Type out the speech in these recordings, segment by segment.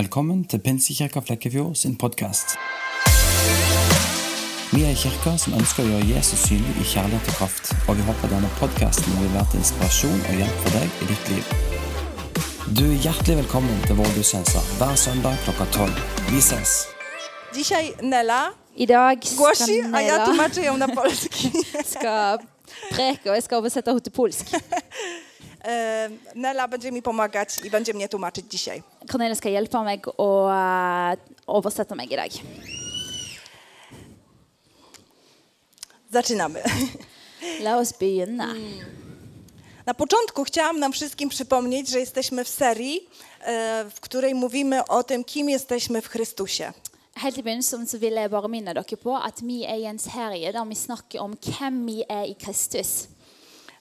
Velkommen til Pinsekirka Flekkefjord sin podkast. Vi er en kirke som ønsker å gjøre Jesus synlig i kjærlighet og kraft, og vi håper denne podkasten vil være til inspirasjon og hjelp for deg i ditt liv. Du er hjertelig velkommen til vår gudstjeneste hver søndag klokka tolv. Vi ses! Dzisiaj Nela I dag skal głosi, a ja Nela tłumaczę ją na polski. skal preke, og jeg skal oversette henne til polsk. E, Nela będzie mi pomagać i będzie mnie tłumaczyć dzisiaj. Cornelia skal hjelpe meg å eh, oversette meg i dag. Zaczynamy. La oss begynne. Na początku chciałam nam wszystkim przypomnieć, że jesteśmy w serii, e, w której mówimy o tym, kim jesteśmy w Chrystusie. Helt i begynnelsen så vil jeg bare minne dere på at vi er i en serie der vi snakker om hvem vi er i Kristus.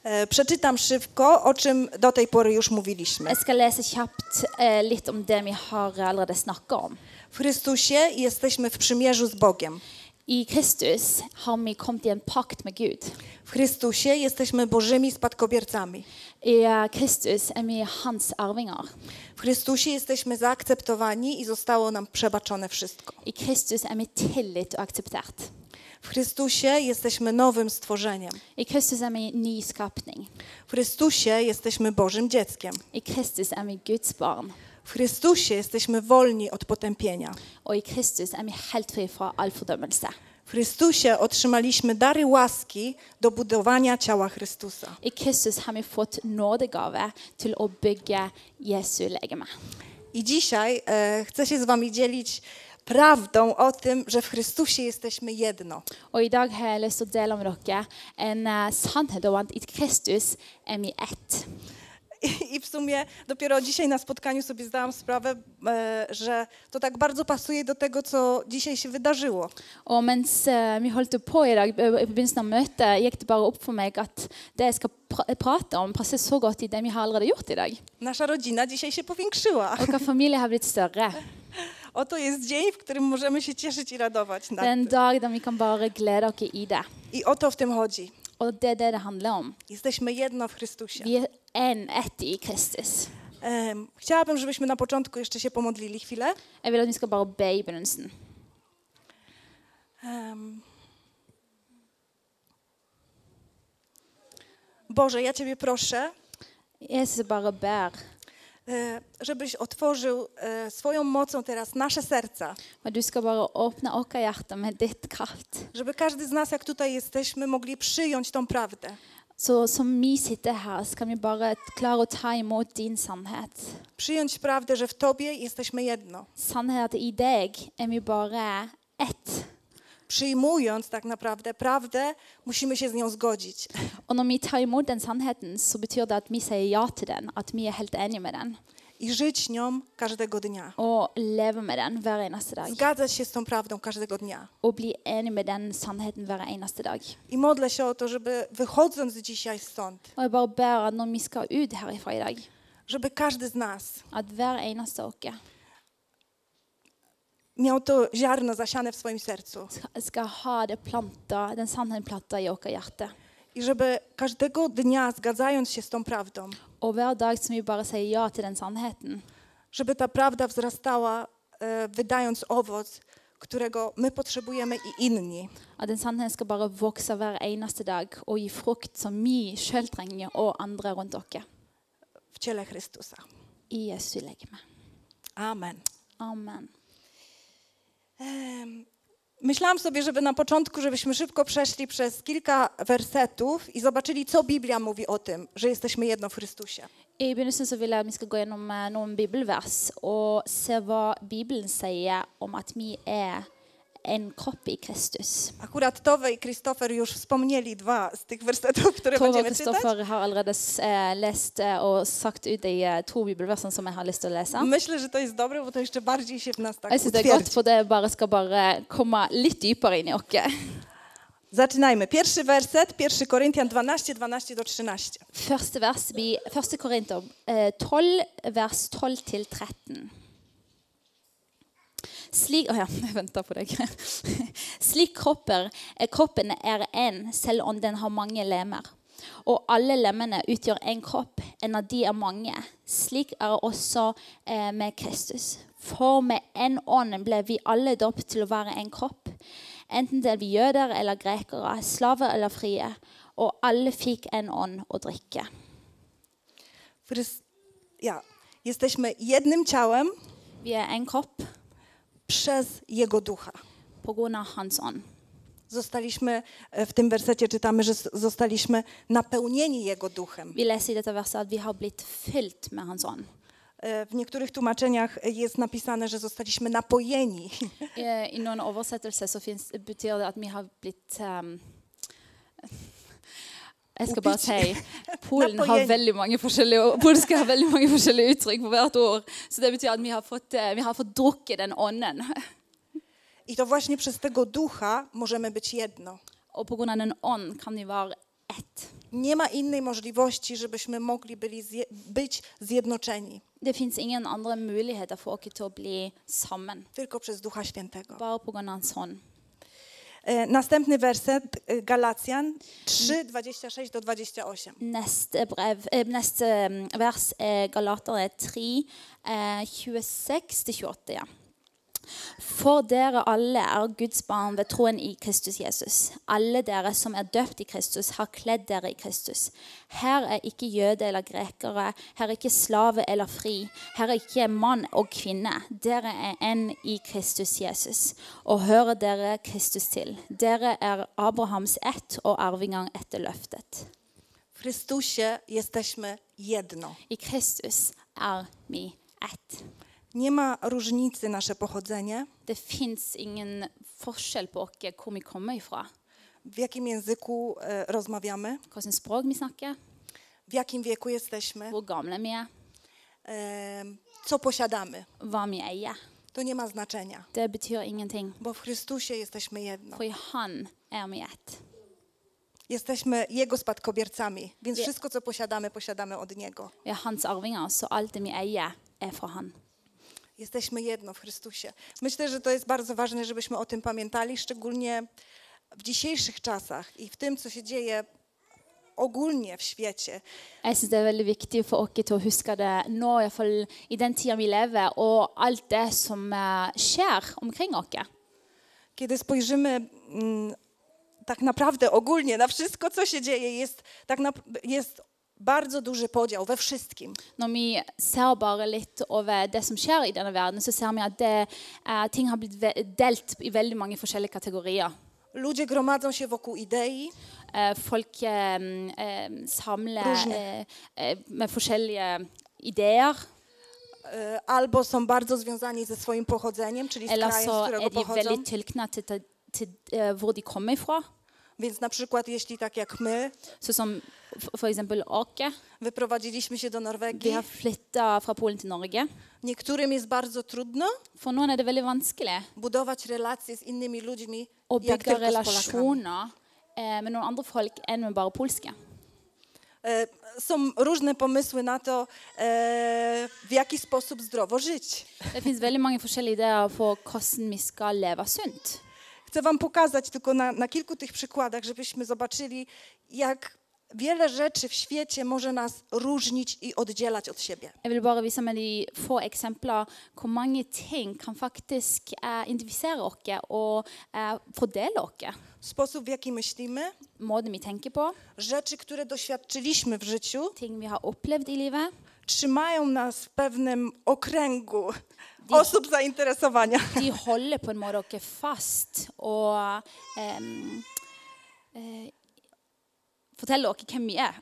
E, Przeczytam szybko, o czym do tej pory już mówiliśmy. Jeg skal lese kjapt eh, litt om det vi har allerede snakket om. W Chrystusie jesteśmy w przymierzu z Bogiem. I Kristus har vi kommet i en pakt med Gud. W Chrystusie jesteśmy Bożymi spadkobiercami. I eh, Kristus er vi hans arvinger. W Chrystusie jesteśmy zaakceptowani i zostało nam przebaczone wszystko. I Kristus er vi tillit og akseptert. W Chrystusie jesteśmy nowym stworzeniem. I Kristus er vi ny skapning. W Chrystusie jesteśmy Bożym dzieckiem. I Kristus er vi Guds barn. W Chrystusie jesteśmy wolni od potępienia. Og i Kristus er vi helt fri fra all fordømmelse. W Chrystusie otrzymaliśmy dary łaski do budowania ciała Chrystusa. I Kristus har vi fått nådegave til å bygge Jesu legeme. I dzisiaj e, chcę się z Wami dzielić prawdą o tym, że w Chrystusie jesteśmy jedno. Og i dag har jeg lyst til å dele med dere en eh, sannhet om at i Kristus er vi ett. I, I w sumie dopiero dzisiaj na spotkaniu sobie zdałam sprawę, e, że to tak bardzo pasuje do tego, co dzisiaj się wydarzyło. Og mens eh, vi holdt på i dag, eh, i begynnelsen av møtet, gikk det bare opp for meg at det jeg skal pra prate om, passer så godt i det vi har allerede gjort i dag. Nasza rodzina dzisiaj się powiększyła. Vår familie har blitt større. Oto jest dzień, w którym możemy się cieszyć i radować. Det er Nad en tym. dag der vi kan bare glede oss i det. I o to w tym chodzi. Og det er det det handler om. Jesteśmy jedno w Chrystusie. Vi er én ett i Kristus. Em, Chciałabym, żebyśmy na początku jeszcze się pomodlili chwilę. Jeg vil at vi skal bare be i begynnelsen. Em. Boże, ja Ciebie proszę, Jesus bare ber e, żebyś otworzył e, swoją mocą teraz nasze serca, og du skal bare åpne vårt hjerte med ditt kraft. żeby każdy z nas, jak tutaj jesteśmy, mogli przyjąć tą prawdę. Så som vi sitter her, skal vi bare klare å ta imot din sannhet. Przyjąć prawdę, że w Tobie jesteśmy jedno. Sannhet i deg er vi bare ett. Przyjmując tak naprawdę prawdę, musimy się z nią zgodzić. Og når vi tar imot den sannheten, så betyr det at vi sier ja til den, at vi er helt enige med den. i żyć nią każdego dnia. Og lever med den hver eneste dag. Zgadzać się z tą prawdą każdego dnia. Og bli enig med den sannheten hver eneste dag. I modlę się o to, żeby wychodząc dzisiaj stąd, Og jeg bare ber at når vi skal ut herifra i dag, żeby każdy z nas at hver eneste av oss miał to ziarno zasiane w swoim sercu ska- skal ha det planta, den sannheten planta i vårt hjerte. i żeby każdego dnia zgadzając się z tą prawdą, Og hver dag som vi bare sier ja til den sannheten, żeby ta prawda wzrastała, e, wydając owoc, którego my potrzebujemy i inni. at den sannheten skal bare vokse hver eneste dag og gi frukt som vi sjøl trenger, og andre rundt oss. W ciele Chrystusa. I Jesu legeme. Amen. Amen. Em, Myślałam sobie, żeby na początku, żebyśmy szybko przeszli przez kilka wersetów i zobaczyli, co Biblia mówi o tym, że jesteśmy jedno w Chrystusie. I begynnelsen så vil jeg at vi skal gå gjennom eh, noen bibelvers og se hva Bibelen sier om at vi er en kropp i Kristus. Akurat Tove i Kristoffer już wspomnieli dwa z tych wersetów, które Tove og będziemy czytać. Kristoffer har allerede eh, lest eh, og sagt ut de eh, to bibelversene som jeg har lyst til å lese. Myślę, że to jest dobre, bo to jeszcze bardziej się w nas tak Jeg syns det er godt, utwierdzi. for det bare skal bare komme litt dypere inn i oss. Zaczynajmy. Pierwszy werset, 1 Koryntian 12, 12 do 13. Første vers i 1. Korinter eh, 12, vers 12 til 13. Slik Å ja, jeg venter på deg. Slik kropper, eh, kroppen er én, selv om den har mange lemer. Og alle lemmene utgjør én kropp, en av de er mange. Slik er det også eh, med Kristus. For med én ånd ble vi alle døpt til å være en kropp, enten det er vi jøder eller grekere, slaver eller frie, og alle fikk en ånd å drikke. Chrys- ja, jesteśmy jednym ciałem Vi er en kropp przez Jego Ducha. pga. Hans ånd. Zostaliśmy, e, w tym wersecie czytamy, że s- zostaliśmy napełnieni Jego Duchem. Vi leser i dette verset at vi har blitt fylt med Hans ånd. E, W niektórych tłumaczeniach jest napisane, że zostaliśmy napojeni. Eh, I noen oversettelser så finnes, betyr det at vi har blitt ehm, Jeg skal bare si Polen har Napojen. veldig mange forskjellige ord. Polske har veldig mange forskjellige uttrykk for hvert ord. Så det betyr at vi har fått, eh, vi har fått drukket den ånden. I to właśnie przez tego Ducha możemy być jedno. Og pga. den ånden kan vi være ett. Nie ma innej możliwości, żebyśmy mogli byli zje- być zjednoczeni, Det fins ingen andre muligheter for oss til å bli sammen. tylko przez Ducha Świętego. Bare pga. hans hånd. E, Następny werset e, Galacjan 3, 26 do 28. Neste, brev, eh, neste eh, vers er Galaterne 3, eh, 26-28. Ja. For dere alle er Guds barn ved troen i Kristus Jesus. Alle dere som er døpt i Kristus, har kledd dere i Kristus. Her er ikke jøde eller grekere, her er ikke slave eller fri, her er ikke mann og kvinne. Dere er en i Kristus Jesus, og hører dere Kristus til. Dere er Abrahams ett og arvinger etter løftet. W Chrystusie jesteśmy jedno. I Kristus er vi ett. Nie ma różnicy nasze pochodzenie, Det fins ingen forskjell på oss hvor vi kommer ifra, w jakim języku e, rozmawiamy, hvilket språk vi snakker, w jakim wieku jesteśmy, hvor gamle vi er, e, co posiadamy. hva vi eier. To nie ma znaczenia, Det betyr ingenting, bo w Chrystusie jesteśmy jedno. for i Han er vi ett. Jesteśmy Jego spadkobiercami, więc Wie- wszystko, co posiadamy, posiadamy od Niego. Vi er Hans arvinger, så alt det vi eier, er fra Han. Jesteśmy jedno w Chrystusie. Myślę, że to jest bardzo ważne, żebyśmy o tym pamiętali, szczególnie w dzisiejszych czasach i w tym, co się dzieje ogólnie w świecie. Jeg synes Det er veldig viktig for oss til å huske det nå, i, hvert fall, i den tida vi lever, og alt det som eh, skjer omkring oss. Kiedy spojrzymy mm, tak naprawdę ogólnie na wszystko, co się dzieje, jest, tak na, jest bardzo duży podział we wszystkim. Når vi ser bare litt over det som skjer i denne verden, så ser vi at det, eh, ting har blitt ve delt i veldig mange forskjellige kategorier. Ludzie gromadzą się wokół idei, Eh, folk eh, eh, samler Różne. eh, eh, med forskjellige ideer. e, albo są bardzo związani ze swoim pochodzeniem, czyli z Eller krajem, så z er którego de veldig pochodzą. tilknyttet til, til eh, hvor de kommer ifra. Więc na przykład jeśli tak jak my, Sånn som f- for eksempel Åke. wyprowadziliśmy się do Norwegii, Vi har flytta fra Polen til Norge. Niektórym jest bardzo trudno For noen er det veldig vanskelig budować relacje z innymi ludźmi, å jak bygge tylko z Polakami. relasjoner eh, med noen andre folk enn med bare polske. E, Są różne pomysły na to, e, w jaki sposób zdrowo żyć. Det finnes veldig mange forskjellige ideer for hvordan vi skal leve sunt. Chcę Wam pokazać tylko na, na kilku tych przykładach, żebyśmy zobaczyli, jak wiele rzeczy w świecie może nas różnić i oddzielać od siebie. Jeg vil bare vise med de få eksempler hvor mange ting kan faktisk eh, identifisere oss og eh, fordele oss. Sposób, w jaki myślimy, Måten vi tenker på, rzeczy, które doświadczyliśmy w życiu, ting vi har opplevd i livet. trzymają nas w pewnym okręgu osób zainteresowania. De holder på en måte oss fast og eh, eh, forteller oss hvem vi er.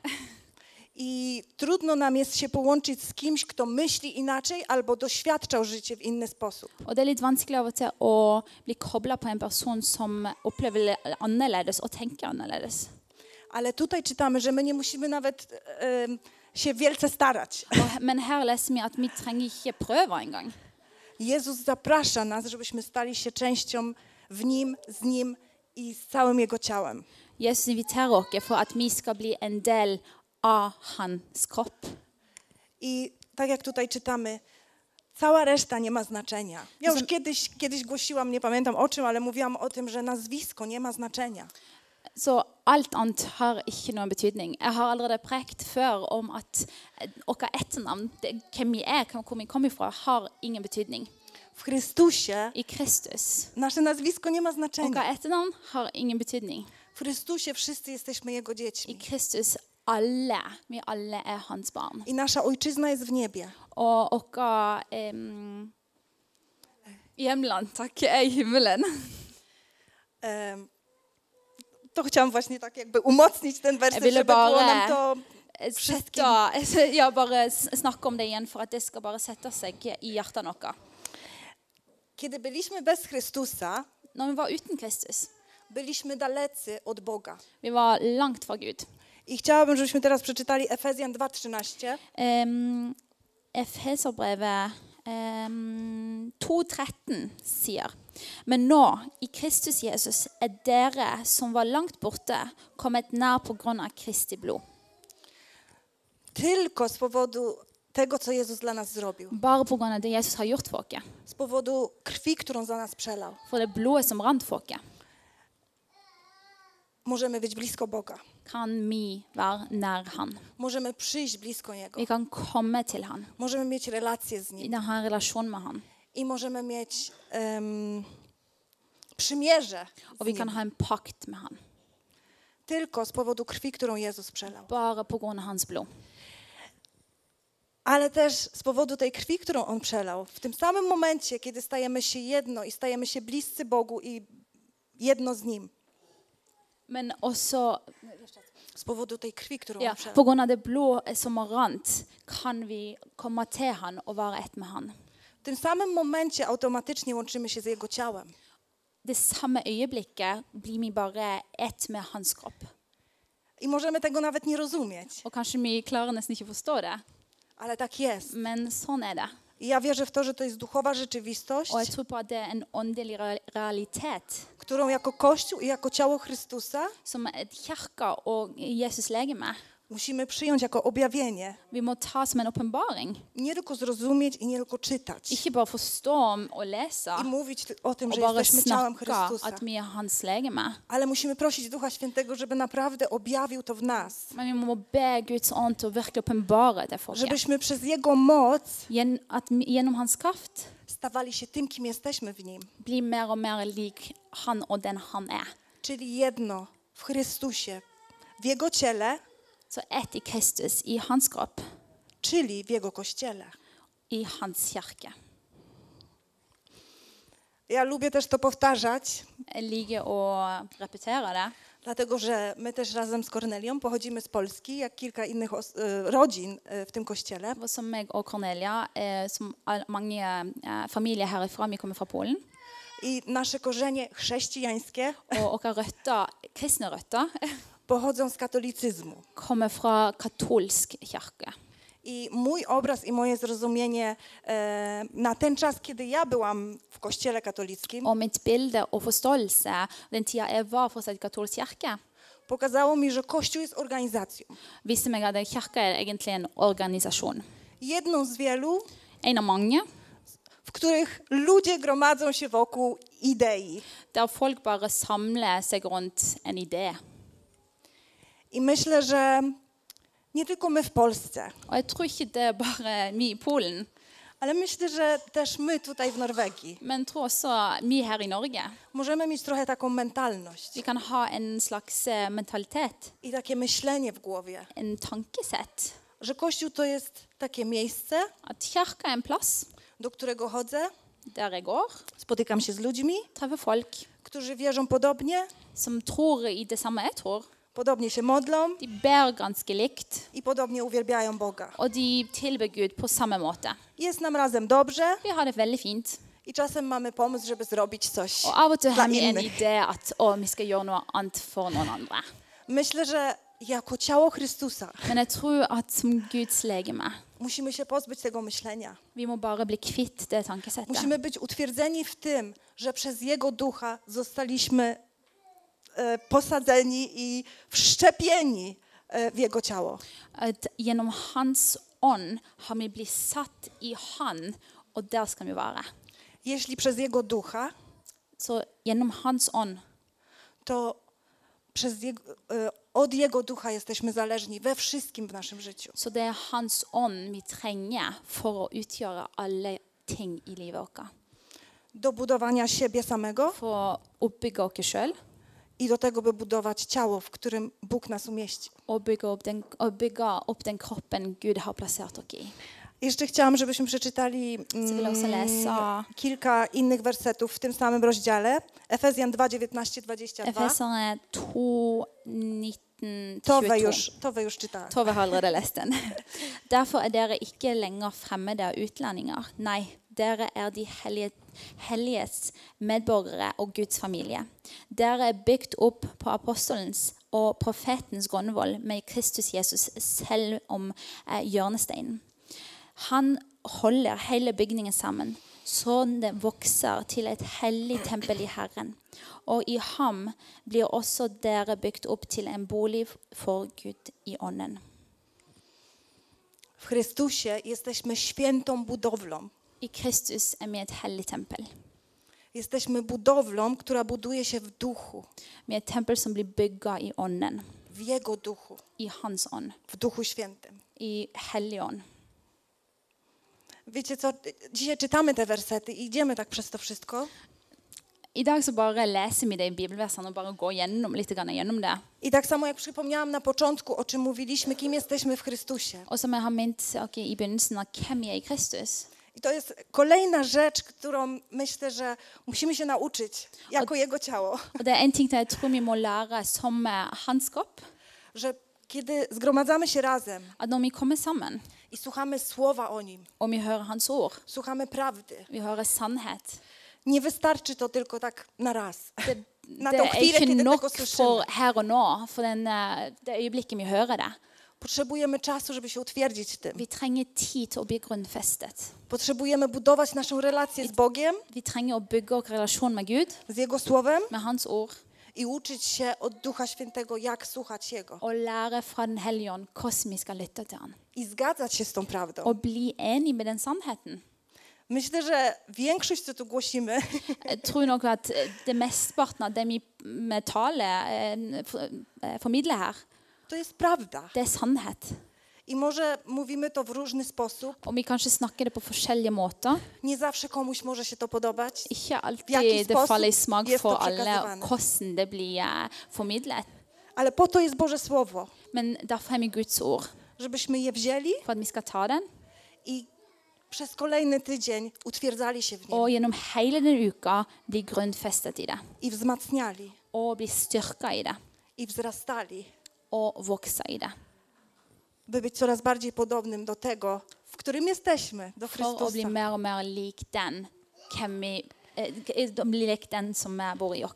I trudno nam jest się połączyć z kimś, kto myśli inaczej albo doświadczał życie w inny sposób. Og det er litt vanskelig av og til å bli kobla på en person som opplever det annerledes og tenker annerledes. Ale tutaj czytamy, że my nie musimy nawet em, się wielce starać. Og- Men her leser vi at vi trenger ikke prøver engang. Jezus zaprasza nas, żebyśmy stali się częścią w Nim, z Nim i z całym Jego ciałem. Jesus inviterer oss for at vi skal bli en del av hans kropp. I tak jak tutaj czytamy, cała reszta nie ma znaczenia. Ja już Zam- kiedyś, kiedyś głosiłam, nie pamiętam o czym, ale mówiłam o tym, że nazwisko nie ma znaczenia. Så alt annet har ikke noen betydning. Jeg har allerede prekt før om at vårt etternavn, det, hvem vi er, hvem- hvor vi kommer fra, har ingen betydning. w Chrystusie i Kristus. nasze nazwisko nie ma Og hva znaczenia. etternavn har ingen betydning. W Chrystusie wszyscy jesteśmy Jego I dziećmi. Kristus alle, vi alle er hans barn. I nasza ojczyzna jest w niebie. Og vårt em, hjemland, takk, er i himmelen. Em, To chciałam właśnie tak jakby umocnić ten werset, Byle żeby było nam bare- to... Eh, Sette, altså, ja, bare s- snakke om det igjen, for at det skal bare sette seg i hjertet vårt. Kiedy byliśmy bez Chrystusa, Når vi var uten Kristus, byliśmy dalecy od Boga. vi var langt fra Gud. I chciałabym, żebyśmy teraz przeczytali Efezjan 2,13. Um, Efeserbrevet um, 2.13 sier Men nå, i Kristus Jesus, er dere som var langt borte, kommet nær på grunn av Kristi blod. Tylko z powodu tego, co Jezus dla nas zrobił. Bare på grunn av det Jesus har gjort for oss. Z powodu krwi, którą za nas przelał. For det blodet som rant for oss, Możemy być blisko Boga. kan vi være nær Han. Możemy przyjść blisko Niego. Vi kan komme til Han, Możemy mieć relacje z i Nim. denne relasjonen med Han. I możemy mieć em, przymierze Og vi kan ha en pakt med Han. tylko z powodu krwi, którą Jezus przelał. Bare på grunn av Hans blod. Ale też z powodu tej krwi, którą On przelał. W tym samym momencie, kiedy stajemy się jedno i stajemy się bliscy Bogu i jedno z Nim. Men også Z powodu tej krwi, którą Ja, On przelał. på grunn av det blodet som har rant, kan vi komme til han og være ett med han. W tym samym momencie automatycznie łączymy się z Jego ciałem. Det samme øyeblikket blir vi bare ett med hans kropp. I możemy tego nawet nie rozumieć, Og kanskje vi klarer nesten ikke å forstå det, ale tak jest. men sånn er det. I ja wierzę w to, że to jest duchowa rzeczywistość, Og jeg tror på at det er en åndelig real- realitet którą jako Kościół i jako ciało Chrystusa som et kirke og Jesus legeme musimy przyjąć jako objawienie. vi må ta som en åpenbaring. Nie tylko zrozumieć i nie tylko czytać. Ikke bare forstå og lese, I mówić ty- o tym, og że bare jesteśmy ciałem snakke Chrystusa. at vi er hans legeme. Ale musimy prosić Ducha Świętego, żeby naprawdę objawił to w nas. Men vi må be Guds ånd til å virkelig åpenbare det for oss. Żebyśmy przez Jego moc Gjen, at vi- gjennom hans kraft stawali się tym, kim jesteśmy w Nim. blir mer og mer lik han og den han er. Czyli jedno w Chrystusie, w Jego ciele, Så ett i Kristus, i hans kropp, czyli w Jego kościele. i hans kirke. Ja lubię też to powtarzać, Jeg liker å repetere det, dlatego że my też razem z Kornelią pochodzimy z Polski, jak kilka innych os- y, rodzin y, w tym kościele. for som meg og Cornelia, eh, som all- mange eh, familier herifra, vi kommer fra Polen, I nasze korzenie chrześcijańskie og våre røtter, kristne røtter pochodzą z katolicyzmu. kommer fra katolsk kirke. I mój obraz i moje zrozumienie e, na ten czas, kiedy ja byłam w kościele katolickim, Og mitt bilde og forståelse den tida jeg var fortsatt i katolsk kirke, pokazało mi, że kościół jest organizacją. viste meg at kirka er egentlig en organisasjon. Jedną z wielu, En av mange w których ludzie gromadzą się wokół idei. der folk bare samler seg rundt en idé. I myślę, że nie tylko my w Polsce, Og jeg tror ikke det er bare vi i Polen, ale myślę, że też my tutaj w Norwegii men jeg tror også vi her i Norge. możemy mieć trochę taką mentalność Vi kan ha en slags eh, mentalitet, i takie myślenie w głowie, en tankesett. że Kościół to jest takie miejsce, At kirka er en plass do którego chodzę, der jeg går, spotykam się z ludźmi, treffer folk którzy wierzą podobnie, som tror i det samme jeg tror. podobnie się modlą De ber ganske likt, i podobnie uwielbiają Boga. og de tilber Gud på samme måte. Jest nam razem dobrze Vi har det veldig fint. i czasem mamy pomysł, żeby zrobić coś Og av og til dla har vi en innych. idé at å, vi skal gjøre noe annet for noen andre. Myślę, że jako ciało Chrystusa Men jeg tror at som Guds legeme musimy się pozbyć tego myślenia. Vi må bare bli kvitt det tankesettet. Musimy być utwierdzeni w tym, że przez Jego Ducha zostaliśmy e, posadzeni i wszczepieni e, w Jego ciało. At gjennom Hans ånd har vi blitt satt i Han, og der skal vi være. Jeśli przez Jego Ducha, Så gjennom Hans ånd, to przez jego, e, od Jego Ducha jesteśmy zależni we wszystkim w naszym życiu. så det er Hans ånd vi trenger for å utgjøre alle ting i livet vårt. do budowania siebie samego for å oppbygge oss sjøl i do tego, by budować ciało, w którym Bóg nas umieści. og bygge opp, den, og bygge opp den kroppen Gud har plassert oss i. Jeszcze chciałam, żebyśmy przeczytali mm, Cywilą Selesa. kilka innych wersetów w tym samym rozdziale. Efezjan 2, 19, 22. Efeserne 2, 19, Tove 22. już, Tove już czytałam. Tove har allerede lest den. Derfor er dere ikke lenger fremmede og utlendinger. Nei, dere er de hellige, helliges medborgere og Guds familie. Dere er bygd opp på apostelens og profetens grunnvoll med Kristus Jesus selv om eh, hjørnesteinen. Han holder hele bygningen sammen, sånn det vokser til et hellig tempel i Herren. Og i ham blir også dere bygd opp til en bolig for Gud i ånden. W Chrystusie jesteśmy świętą budowlą. I Kristus er vi et hellig tempel. Jesteśmy budowlą, która buduje się w duchu, Vi er et tempel som blir bygga i ånden. w Jego duchu, I Hans ånd. w Duchu Świętym. I Hellig ånd. Wiecie co, dzisiaj czytamy te wersety i idziemy tak przez to wszystko. I dag så bare leser vi det i bibelversene og bare går gjennom, litt grann gjennom det. I tak samo jak przypomniałam na początku, o czym mówiliśmy, kim jesteśmy w Chrystusie. Og som jeg har minnet dere i begynnelsen av hvem vi er i Kristus. I to jest kolejna rzecz, którą myślę, że musimy się nauczyć jako Jego ciało. Og det er en ting til jeg tror vi må lære som eh, hans kropp. Że kiedy zgromadzamy się razem At når vi kommer sammen, i słuchamy słowa o Nim, og vi hører hans ord, słuchamy prawdy, vi hører sannhet nie wystarczy to tylko tak na raz. Na Det tą er chwilę, ikke kiedy nok tego słyszymy. for her og nå, for den, eh, det øyeblikket vi hører det. Potrzebujemy czasu, żeby się utwierdzić w tym. Vi trenger tid til å bli grunnfestet. Potrzebujemy budować naszą relację z Bogiem, Vi trenger å bygge vår relasjon med Gud, z Jego Słowem med hans ord, i uczyć się od Ducha Świętego, jak słuchać Jego og lære fra Den hellige ånd hvordan vi skal lytte til han. i zgadzać się z tą prawdą. Og bli enig med den sannheten. Myślę, że większość, co tu głosimy, Jeg tror nok at eh, det mesteparten av det vi med tale eh, for- eh, formidler her, to jest prawda. det er sannhet. I może mówimy to w różny sposób. Og vi kanskje snakker det på forskjellige måter. Nie zawsze komuś może się to podobać. Ikke Hvilken alltid det språk faller i smak gir for stort alle sjekkassevann? hvordan det blir eh, formidlet. Ale po to jest Boże Słowo, Men derfor har vi Guds ord, żebyśmy je wzięli for at vi skal ta den. i przez kolejny tydzień utwierdzali się w nim Og gjennom hele den uka bli grunnfestet i det. i wzmacniali, Og bli styrka i det. i wzrastali, Og vokse i det. by być coraz bardziej podobnym do tego, w którym jesteśmy, do For å bli Chrystusa. mer og mer lik den, hvem vi, eh, bli lik den som eh, bor i oss.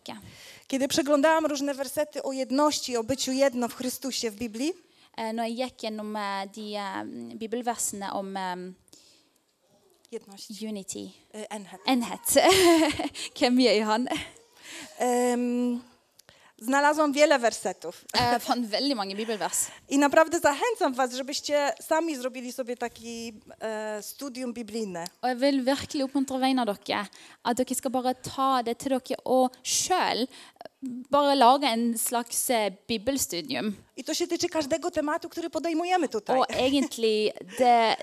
Kiedy przeglądałam różne wersety o jedności, o byciu jedno w Chrystusie w Biblii, Eh, Når jeg gikk gjennom eh, de eh, bibelversene om eh, jedność, unity, y, enhet, enhet, hvem vi er i han, Eh, em, znalazłam wiele wersetów. jeg fant veldig mange bibelvers. I naprawdę zachęcam Was, żebyście sami zrobili sobie taki e, studium biblijne. Og jeg vil virkelig oppmuntre vegne av dere at dere skal bare ta det til dere og sjøl bare lage en slags eh, bibelstudium. I to się tyczy każdego tematu, który podejmujemy tutaj. Og egentlig det,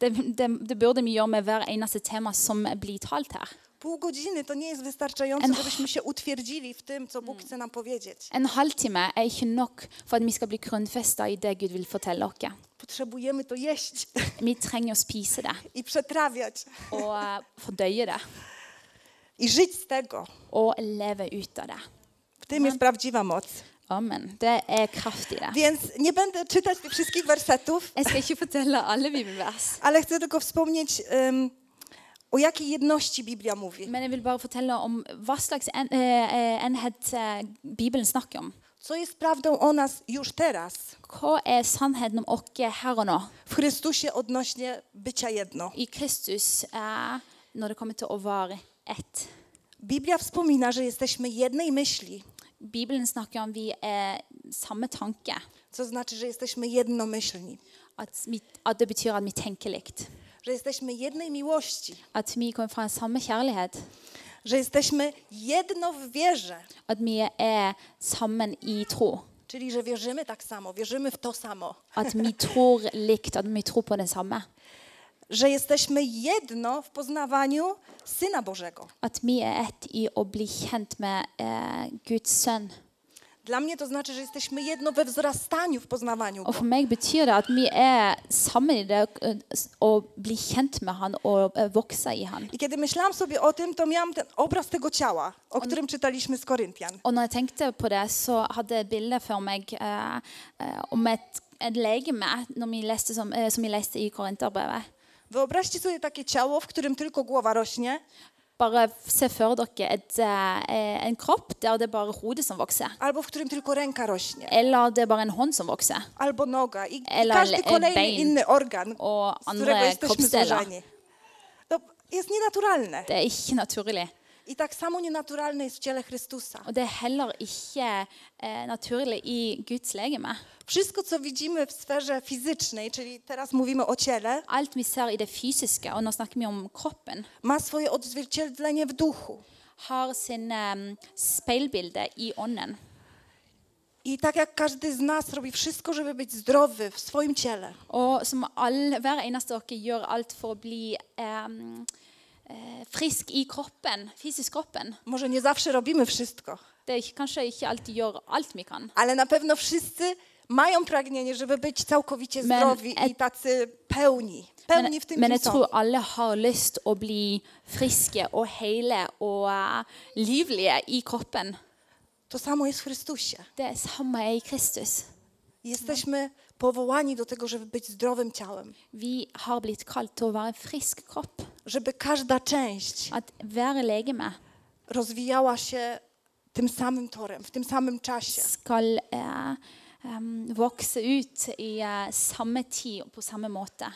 det, det, det burde vi gjøre med hver eneste tema som blir talt her. Pół godziny to nie jest wystarczająco, żebyśmy się utwierdzili w tym, co Bóg chce nam powiedzieć. En halvtime er ikke nok for at vi skal bli grunnfesta i det Gud vil fortelle oss. Potrzebujemy to jeść Vi trenger å spise det i przetrawiać og eh, fordøye det i żyć z tego. og leve ut av det. W tym jest prawdziwa moc. Amen. Det er kraft i det. Więc nie będę czytać tych wszystkich wersetów, Jeg skal ikke fortelle alle bibelvers. ale chcę tylko wspomnieć, em, o jakiej jedności Biblia mówi. Men jeg vil bare fortelle om hva slags en, eh, eh, enhet eh, Bibelen snakker om. Co jest prawdą o nas już teraz Hva er sannheten om oss her og nå, w Chrystusie odnośnie bycia jedno? i Kristus, eh, når det kommer til å være ett? Biblia wspomina, że jesteśmy jednej myśli, Bibelen snakker om vi er samme tanke. co znaczy, że jesteśmy jednomyślni, At, vi, at det betyr at vi tenker likt. że jesteśmy jednej miłości, At vi kommer fra samme kjærlighet. że jesteśmy jedno w wierze, At vi er sammen i tro. czyli że wierzymy tak samo, wierzymy w to samo. At vi tror likt, at vi tror på det samme. że jesteśmy jedno w poznawaniu Syna Bożego. At vi er ett i å bli kjent med eh, Guds sønn. Dla mnie to znaczy, że jesteśmy jedno we wzrastaniu w poznawaniu Og Go. for meg betyr det at vi er sammen i det eh, s- å bli kjent med han og eh, vokse i han. I kiedy myślałam sobie o tym, to miałam ten obraz tego ciała, o którym czytaliśmy z Koryntian. Og når jeg tenkte på det, så hadde jeg bildet for meg eh, eh, om et, et legeme når vi leste som, eh, som vi leste i Korinterbrevet. Wyobraźcie sobie takie ciało, w którym tylko głowa rośnie, Bare se for dere et, eh, en kropp der det er bare hodet som vokser. albo w którym tylko ręka rośnie, Eller det er bare en hånd som vokser. albo noga i i Ela- każdy e, kolejny bein. inny organ, O, z którego André jesteśmy Kopstela. złożeni. To jest nienaturalne. Det er ikke naturlig. I tak samo nienaturalne jest w ciele Chrystusa. Og det er heller ikke eh, naturlig i Guds legeme. Wszystko, co widzimy w sferze fizycznej, czyli teraz mówimy o ciele, Alt vi ser i det fysiske, og nå snakker vi om kroppen, ma swoje odzwierciedlenie w duchu. har sin eh, speilbilde i ånden. I tak jak każdy z nas robi wszystko, żeby być zdrowy w swoim ciele, Og som all, hver eneste av dere gjør alt for å bli eh, eh, frisk i kroppen, fysisk kroppen. może nie zawsze robimy wszystko, Det er ikke, kanskje ikke alltid gjør alt vi kan. ale na pewno wszyscy mają pragnienie, żeby być całkowicie Men- zdrowi i tacy pełni. Pełni Men, w tym, men kim jeg są. tror alle har lyst å bli friske og hele og eh, livlige i kroppen. To samo jest w Chrystusie. Det samme er i Kristus. Jesteśmy powołani do tego, żeby być zdrowym ciałem, Vi har blitt kalt til å være en frisk kropp. żeby każda część At hver legeme rozwijała się tym samym torem, w tym samym czasie. skal eh, em, vokse ut i eh, samme tid og på samme måte.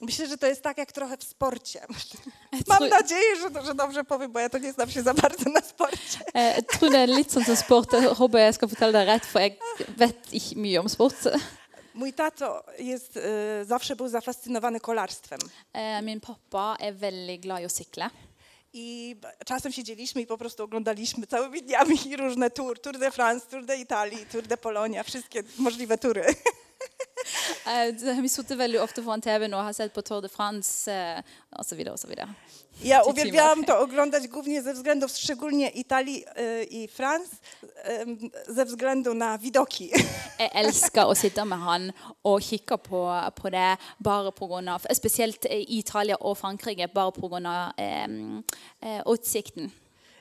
Myślę, że to jest tak jak trochę w sporcie. tru- Mam nadzieję, że, że dobrze powiem, bo ja to nie znam się za bardzo na sporcie. Eh, Jeg tror det er litt sånn som sport. Jeg håper jeg skal fortelle deg rett, for jeg vet ikke mye om sport. Mój tato jest, y, zawsze był zafascynowany kolarstwem. Eh, Min pappa er veldig glad i å sykle. I b- czasem siedzieliśmy i po prostu oglądaliśmy całymi dniami różne tour. Tour de France, Tour de Italii, Tour de Polonia, wszystkie możliwe tury. Eh, det har Vi sitter veldig ofte foran TV-en og har sett på Tour de France eh, og så videre og så videre. Ja Ty uwielbiałam Timothy. to oglądać głównie ze względów szczególnie Italii y, i France, em, ze względu na widoki. Jeg elsker å sitte med han og kikke på, på det bare på grunn av, spesielt i Italia og Frankrike, bare pga. Eh, eh, utsikten.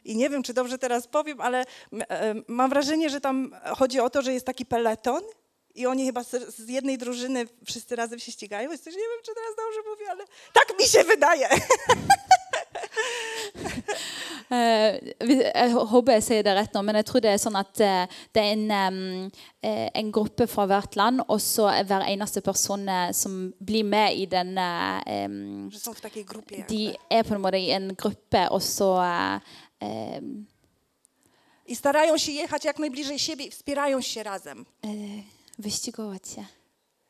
I nie wiem, czy dobrze teraz powiem, ale m- em, mam wrażenie, że tam chodzi o to, że jest taki peleton i oni chyba z, z jednej drużyny wszyscy razem się ścigają. Jest też, nie wiem, czy teraz dobrze mówię, ale tak mi się wydaje. Eh, vi- jeg håper jeg sier det rett nå, men jeg tror det er sånn at eh, det er en, em, eh, en gruppe fra hvert land, og så er hver eneste person eh, som blir med i den eh, em, Że są w takiej grupie. jakby. De er på en måte i en gruppe, og så eh, em, I starają się jechać jak najbliżej siebie i wspierają się razem. eh, Visste ikke hva det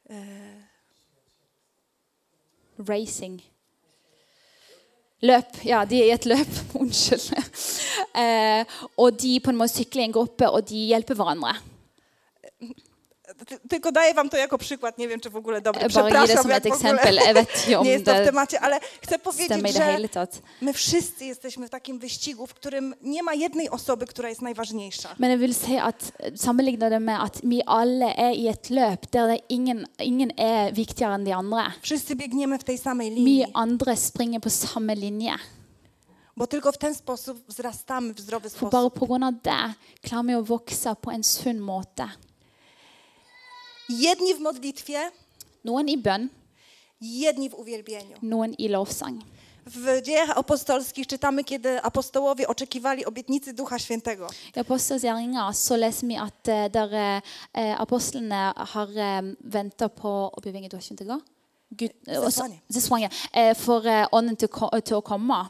er. Racing. Løp. Ja, de er i et løp. Unnskyld. Eh, og de på en måte sykler i en gruppe, og de hjelper hverandre. Ty- Tylko daję wam to jako przykład, nie wiem czy w ogóle dobry. Jeg bare gir det Przepraszam, som jak et w ogóle eksempel. Jeg vet ikke om nie jest to w det temacie, ale chcę stemmer powiedzieć, i det że hele tatt. my wszyscy jesteśmy w takim wyścigu, w którym nie ma jednej osoby, która jest najważniejsza. Men jeg vil si at eh, sammenligner det med at vi alle er i et løp der det er ingen, ingen er viktigere enn de andre. Wszyscy biegniemy w tej samej Vi linii. andre springer på samme linje. Bo tylko w ten sposób wzrastamy w zdrowy For bare sposób. pga. det klarer vi å vokse på en sunn måte. Jedni w modlitwie, Noen i bønn, jedni w uwielbieniu. noen i lovsang. W dziejach apostolskich czytamy, kiedy apostołowie oczekiwali obietnicy Ducha Świętego. I Apostelens gjerninger så leser vi at eh, der eh, apostlene har venta på oppgivingen du har kjent i går. Gud, eh, også- Sesongen. sesongen, eh, for eh, ånden til, å ko- til å komme.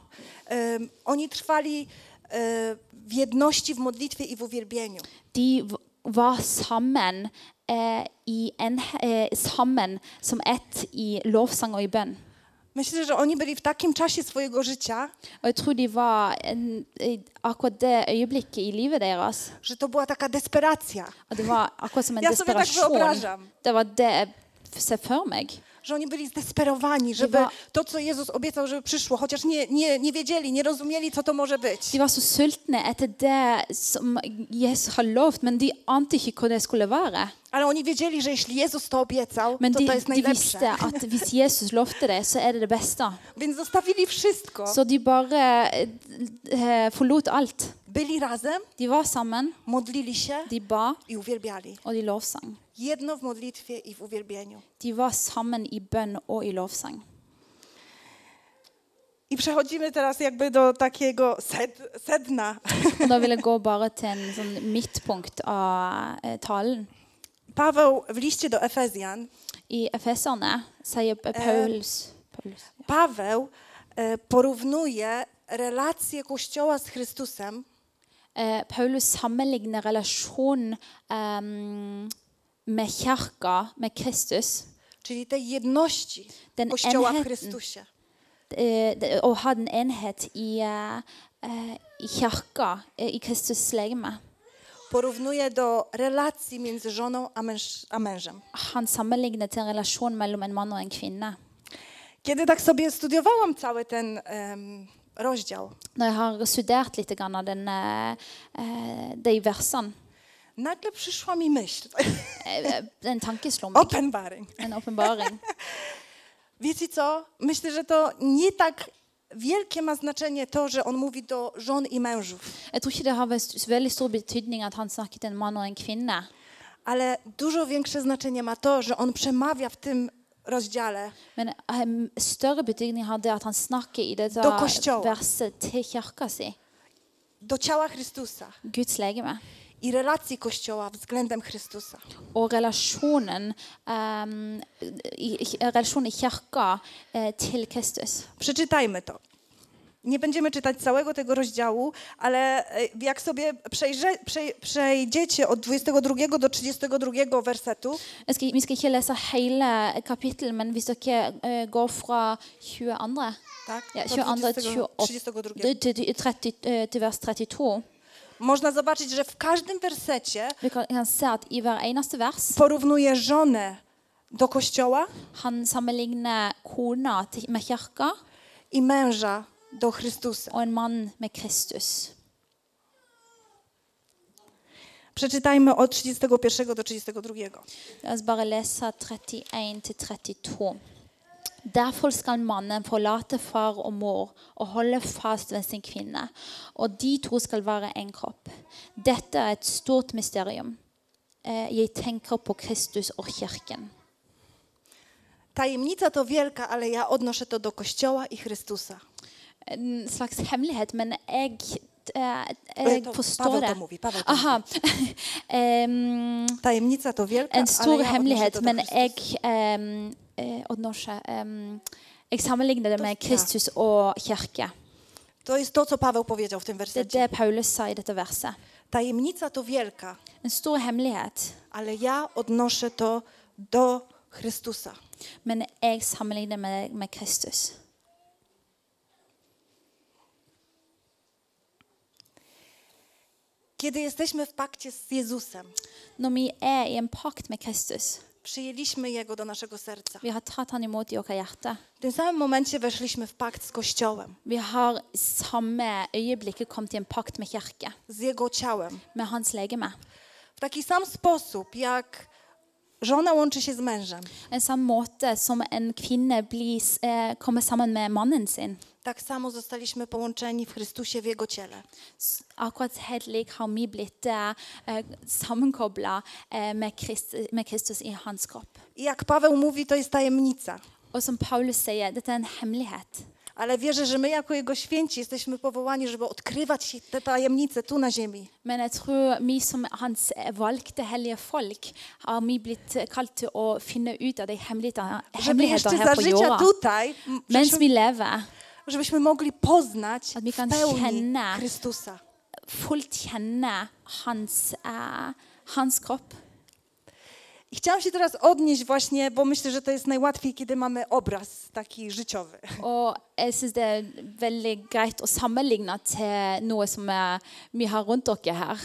Em, oni trwali e, w jedności w modlitwie i w uwielbieniu. De v- var sammen, eh, i en, eh, sammen som ett i lovsang og i bønn. Myślę, że oni byli w takim czasie swojego życia, Og jeg tror de var en, i akkurat det øyeblikket i livet deres że to była taka desperacja, at det var akkurat som en Ja, så vidt jeg desperasjon. beobrażam. Det var det jeg ser for meg. że oni byli zdesperowani, żeby Chyba- to, co Jezus obiecał, żeby przyszło, chociaż nie, nie, nie wiedzieli, nie rozumieli, co to może być. De var så sultne etter det som Jesus har lovt, men de ante ikke hva det skulle være. Ale oni wiedzieli, że jeśli Jezus to obiecał, Men to de, to jest de najlepsze. visste at hvis Jesus lovte det, så er det det beste. Więc zostawili wszystko. Så de bare eh, forlot alt. Byli razem, De var sammen, modlili się de ba, i uwielbiali. og de lovsang. Jedno w modlitwie i w uwielbieniu. De var sammen i bønn og i lovsang. I przechodzimy teraz jakby do takiego sed, sedna. Og da vil jeg gå bare til en sånn midtpunkt av eh, talen. Paweł w liście do Efezjan, I Efeserne sier Paulus, Paulus Paweł e, porównuje relację Kościoła z Chrystusem Eh, Paulus sammenligner relasjonen eh, med kirka, med Kristus, Czyli tej jedności Ten Kościoła w enheten. Chrystusie. eh, det- å ha den enhet i, eh, eh, i kirka, eh, i Kristus legeme. Porównuje do relacji między żoną a, męż, a mężem. Han sammenligner til en relasjon mellom en mann og en kvinne. Kiedy tak sobie studiowałam cały ten em, rozdział, Når jeg har studert litt grann av den, eh, eh, de versene, nagle przyszła mi myśl. eh, en tanke slo meg. Openbaring. En åpenbaring. Wiecie co? Myślę, że to nie tak wielkie ma znaczenie to, że on mówi do żon i mężów, Jeg tror ikke det har vært veldig stor betydning at han snakket til en mann og en kvinne. ale dużo większe znaczenie ma to, że on przemawia w tym rozdziale Men em, større betydning har det at han snakker i dette Da kościoła. verset til kirka si, do ciała Chrystusa Guds legeme, i relacji Kościoła względem Chrystusa. og relasjonen, em, i, i- relasjonen i kirka eh, til Kristus. Przeczytajmy to. Nie będziemy czytać całego tego rozdziału, ale e, jak sobie przejrze, przej, przejdziecie od 22 do 32 wersetu, Jeg skal, vi skal ikke lese hele kapittelet, men hvis dere eh, går fra 22. tak, Ja, do 22 20, 32, til- til- til 30, eh, til vers 32. można zobaczyć, że w każdym wersecie Du kan, kan se at i hver eneste vers porównuje żonę do kościoła han sammenligner kona til, med kirka i męża do Chrystusa. og en mann med Kristus. Przeczytajmy od 31 do 32. La oss bare lese 31-32. Derfor skal mannen forlate far og mor og holde fast ved sin kvinne, og de to skal være en kropp. Dette er et stort mysterium. Eh, Jeg tenker på Kristus og kirken. Tajemnica to wielka, ale ja odnoszę to do kościoła i Chrystusa. En slags hemmelighet, men jeg, eh, Paweł jeg to- forstår Paweł to det. mówi, Paweł to Aha. Em, Tajemnica to wielka, en ale stor ja hemmelighet, odnoszę to do men jeg Chrystusa. ehm, eh, odnosje, ehm, Jeg sammenligner det med Da- ja. Kristus og kirke. To jest to, co Paweł powiedział w tym Det er wersecie. det Paulus sa i dette verset. Tajemnica to wielka, En stor hemmelighet, ale ja odnoszę to do Chrystusa. men jeg sammenligner med, med Kristus. Kiedy jesteśmy w pakcie z Jezusem, Når vi er i en pakt med Kristus, przyjęliśmy Jego do naszego serca. vi har tatt han imot i vårt hjerte. W tym samym momencie weszliśmy w pakt z Kościołem, Vi har i samme øyeblikket kommet i en pakt med kirke, z Jego ciałem. med hans legeme. W taki sam sposób, jak żona łączy się z mężem, En samme måte som en kvinne blir, s- eh, kommer sammen med mannen sin. tak samo zostaliśmy połączeni w Chrystusie w Jego ciele. S- akkurat helt lik har vi blitt eh, sammenkobla eh, med, Krist, med Kristus i hans kropp. I jak Paweł mówi, to jest tajemnica. Og som Paulus sier, dette er en hemmelighet. Ale wierzę, że my jako Jego święci jesteśmy powołani, żeby odkrywać te tajemnice tu na ziemi. Men jeg tror vi som hans valgte hellige folk, har vi blitt kalt til å finne ut av de hemmelighetene Żeby jeszcze hemmeligheter za her på życia jorda. tutaj, m, Mens żebyśmy- vi lever, żebyśmy mogli poznać Od mi w kan pełni känna. Chrystusa. fullt kjenne hans, eh, hans kropp. I chciałam się teraz odnieść właśnie, bo myślę, że to jest najłatwiej, kiedy mamy obraz taki życiowy. Og jeg syns det er veldig greit å sammenligne til noe som er- vi har rundt dere her.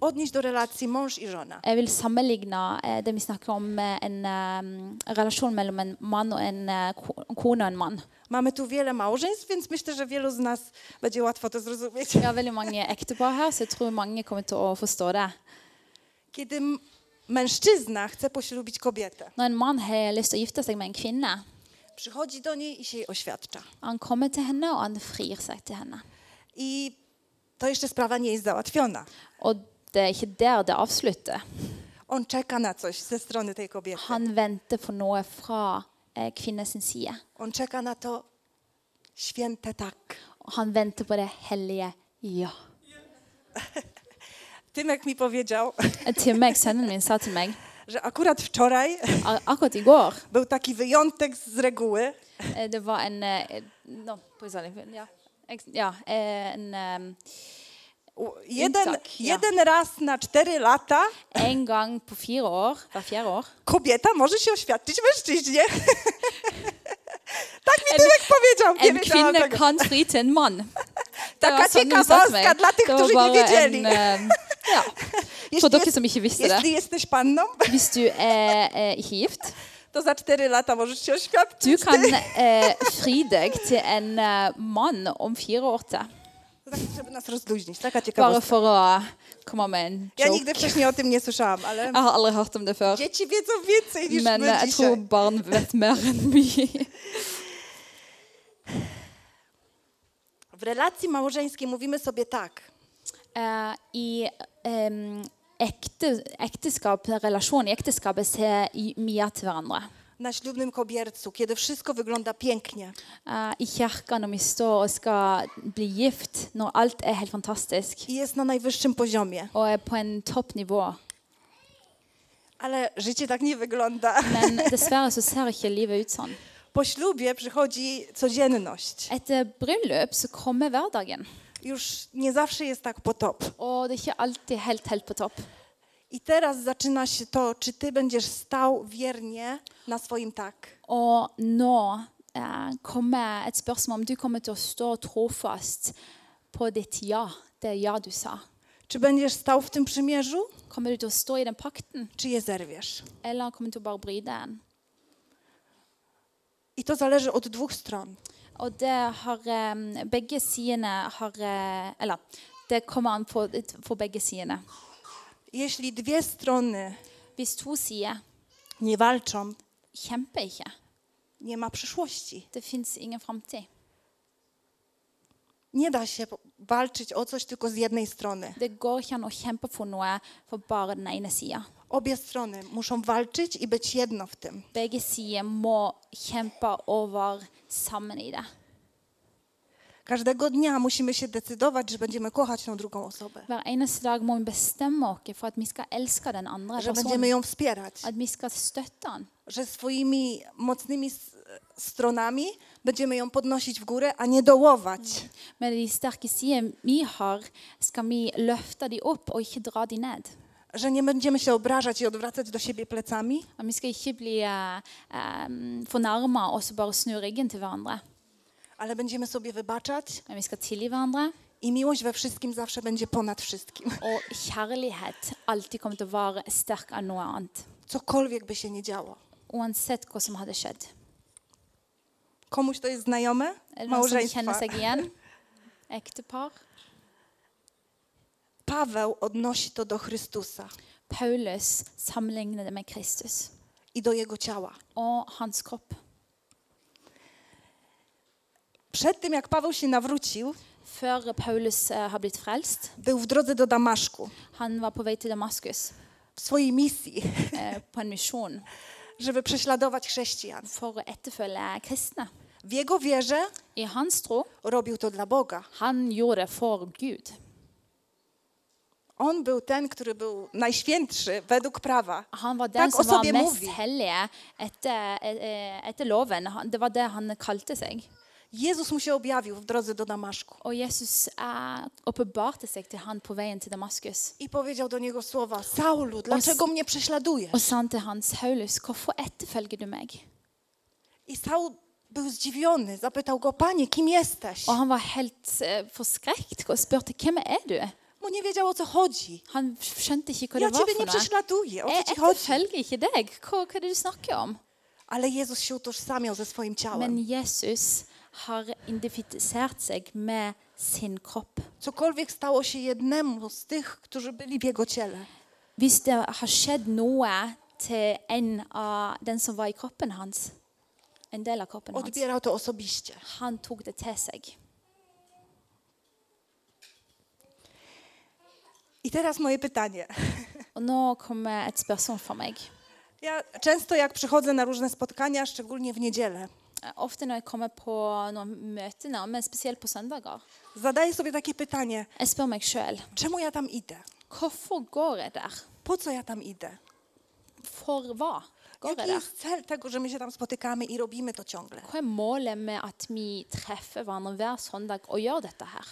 Odnieść do relacji mąż i żona. Jeg vil sammenligne eh, det vi snakker om, eh, en eh, relasjon mellom en mann og en eh, ko- kone og en mann. Mamy tu wiele małżeństw, więc myślę, że wielu z nas będzie łatwo to zrozumieć. Vi har veldig mange ektepar her, så jeg tror mange kommer til å forstå det. Kiedy m- mężczyzna chce poślubić kobietę, Når en mann har lyst til å gifte seg med en kvinne, przychodzi do niej i się jej oświadcza. han kommer til henne, og han frir seg til henne. I to jeszcze sprawa nie jest załatwiona. Og det er ikke der det avslutter. On czeka na coś ze strony tej kobiety. Han venter på noe fra eh, kvinnens side. On czeka na to święte tak. Og han venter på det hellige ja. Tymek mi powiedział, Til meg, Sønnen min sa til meg że akurat wczoraj a- akkurat i går był taki wyjątek z reguły, eh, Det var en eh, Nå, på utsiden, ja. Eks- Ja, eh, en, eh, U- Jeden, Intak, tak, ja. jeden raz na cztery lata en gang på fire år, hver fjerde år. kobieta może się oświadczyć mężczyźnie. tak mi Tymek powiedział. Nie En wiedziałam kvinne tego. kan fri til en mann. Det Taka var sånn hun sa til meg. ciekawostka dla tych, Det var którzy nie bare wiedzieli. en, eh, ja. For dere som ikke visste det. jeśli jesteś panną, Hvis du er eh, ikke gift, to za cztery lata możesz się du oświadczyć. kan eh, fri deg til en eh, mann om fire år til. To tak, żeby nas rozluźnić. Taka Bare ciekawostka. for å komme med en Ja joke. nigdy wcześniej o tym nie słyszałam, ale Jeg har aldri hørt om det før. dzieci wiedzą więcej niż Men my eh, jeg tror dzisiaj. barn vet mer enn vi. W relacji małżeńskiej mówimy sobie tak. Eh, I em, ekte, ekteskap, relasjon i ekteskapet ser i- vi ja til hverandre. Na ślubnym kobiercu, kiedy wszystko wygląda pięknie, Eh, I kirka når vi står og skal bli gift, når alt er helt fantastisk i jest na najwyższym poziomie. og er på en toppnivå. Ale życie tak nie wygląda. Men dessverre så ser ikke livet ut sånn. Po ślubie przychodzi codzienność. Etter bryllup så kommer hverdagen, Już nie zawsze jest tak po top. og det er ikke alltid helt, helt på topp. I teraz zaczyna się to, czy ty będziesz stał wiernie na swoim tak. Og nå eh, kommer et spørsmål om du kommer til å stå trofast på ditt ja, det ja du sa. Czy będziesz stał w tym przymierzu, Kommer du til å stå i den pakten, czy je zerwiesz? eller kommer du til å bare bryte den? I to zależy od dwóch stron. Og det har eh, begge sidene har eh, Eller det kommer an på, på begge sidene. Jeśli dwie strony Hvis to sider nie walczą, kjemper ikke, nie ma przyszłości. det fins ingen framtid. Nie da się po- walczyć o coś tylko z jednej strony. Det går ikke an å kjempe for noe for bare den ene sida. Obie strony muszą walczyć i być jedno w tym. Begge sider må kjempe over sammen i det. Każdego dnia musimy się decydować, że będziemy kochać tą drugą osobę, Hver eneste dag må vi bestemme oss for at vi skal elske den andre że będziemy personen. ją wspierać, At vi skal støtte han. że swoimi mocnymi s- stronami będziemy ją podnosić w górę, a nie dołować. Med de sterke sidene vi har, skal vi løfte de opp og ikke dra de ned. Że nie będziemy się obrażać i odwracać do siebie plecami, Og vi skal ikke bli eh, fornærma og så bare snu ryggen til hverandre. ale będziemy sobie wybaczać Men vi skal tilgi hverandre. i miłość we wszystkim zawsze będzie ponad wszystkim. Og kjærlighet alltid kommer til å være sterk av noe annet. Cokolwiek by się nie działo. Uansett hva som hadde skjedd. Komuś to jest znajome? Er det noen som Małżeństwa. kjenner seg igjen? Ektepar. Paweł odnosi to do Chrystusa Paulus sammenligner det med Kristus i do jego ciała. og hans kropp. Przed tym, jak Paweł się nawrócił, Før Paulus eh, har blitt frelst, był w drodze do Damaszku han var på vei til Damaskus w swojej misji, eh, på en misjon żeby prześladować chrześcijan. for å etterfølge kristne. W jego wierze I hans tro robił to dla Boga. han gjorde det for Gud. On był ten, który był najświętszy według prawa. Han var den Tak o som var sobie mest mówi. hellige etter, eh, etter loven. Han- Det var det han kalte seg. Jezus mu się objawił w drodze do Damaszku Og Jesus eh, åpenbarte seg til han på veien til Damaskus. i powiedział do niego słowa: Saulu, dlaczego mnie prześladujesz? Og sa han til Hans Saulus, hvorfor etterfølger du meg? I Saul był zdziwiony, zapytał go: Panie, kim jesteś? Og han var helt eh, forskrekt og spurte, hvem er du? Bo nie wiedział o co chodzi. Han skjønte ikke hva Ja det var ciebie nie for noe. prześladuję, o co Jeg ci chodzi? etterfølger ikke deg. Hva, hva er det du snakker om? Ale Jezus się utożsamiał ze swoim Men ciałem. Jesus har identifisert seg med sin kropp. Cokolwiek stało się jednemu z tych, którzy byli w jego ciele, Hvis det har skjedd noe til en av den som var i kroppen hans, en del av kroppen hans, odbierał to osobiście. han tok det til seg. I teraz moje pytanie. Og nå kommer et spørsmål fra meg. Ja często jak przychodzę na różne spotkania, szczególnie w niedzielę, Ofte når jeg kommer på noen møter, nå, men spesielt på søndager, zadaję sobie takie pytanie: jeg spør meg sjøl czemu ja tam idę? hvorfor går jeg der? Po co ja tam idę? For hva går Jaki jeg der? jest cel tego, że my się tam spotykamy i robimy to ciągle? Hva er målet med at vi treffer hverandre hver søndag og gjør dette her?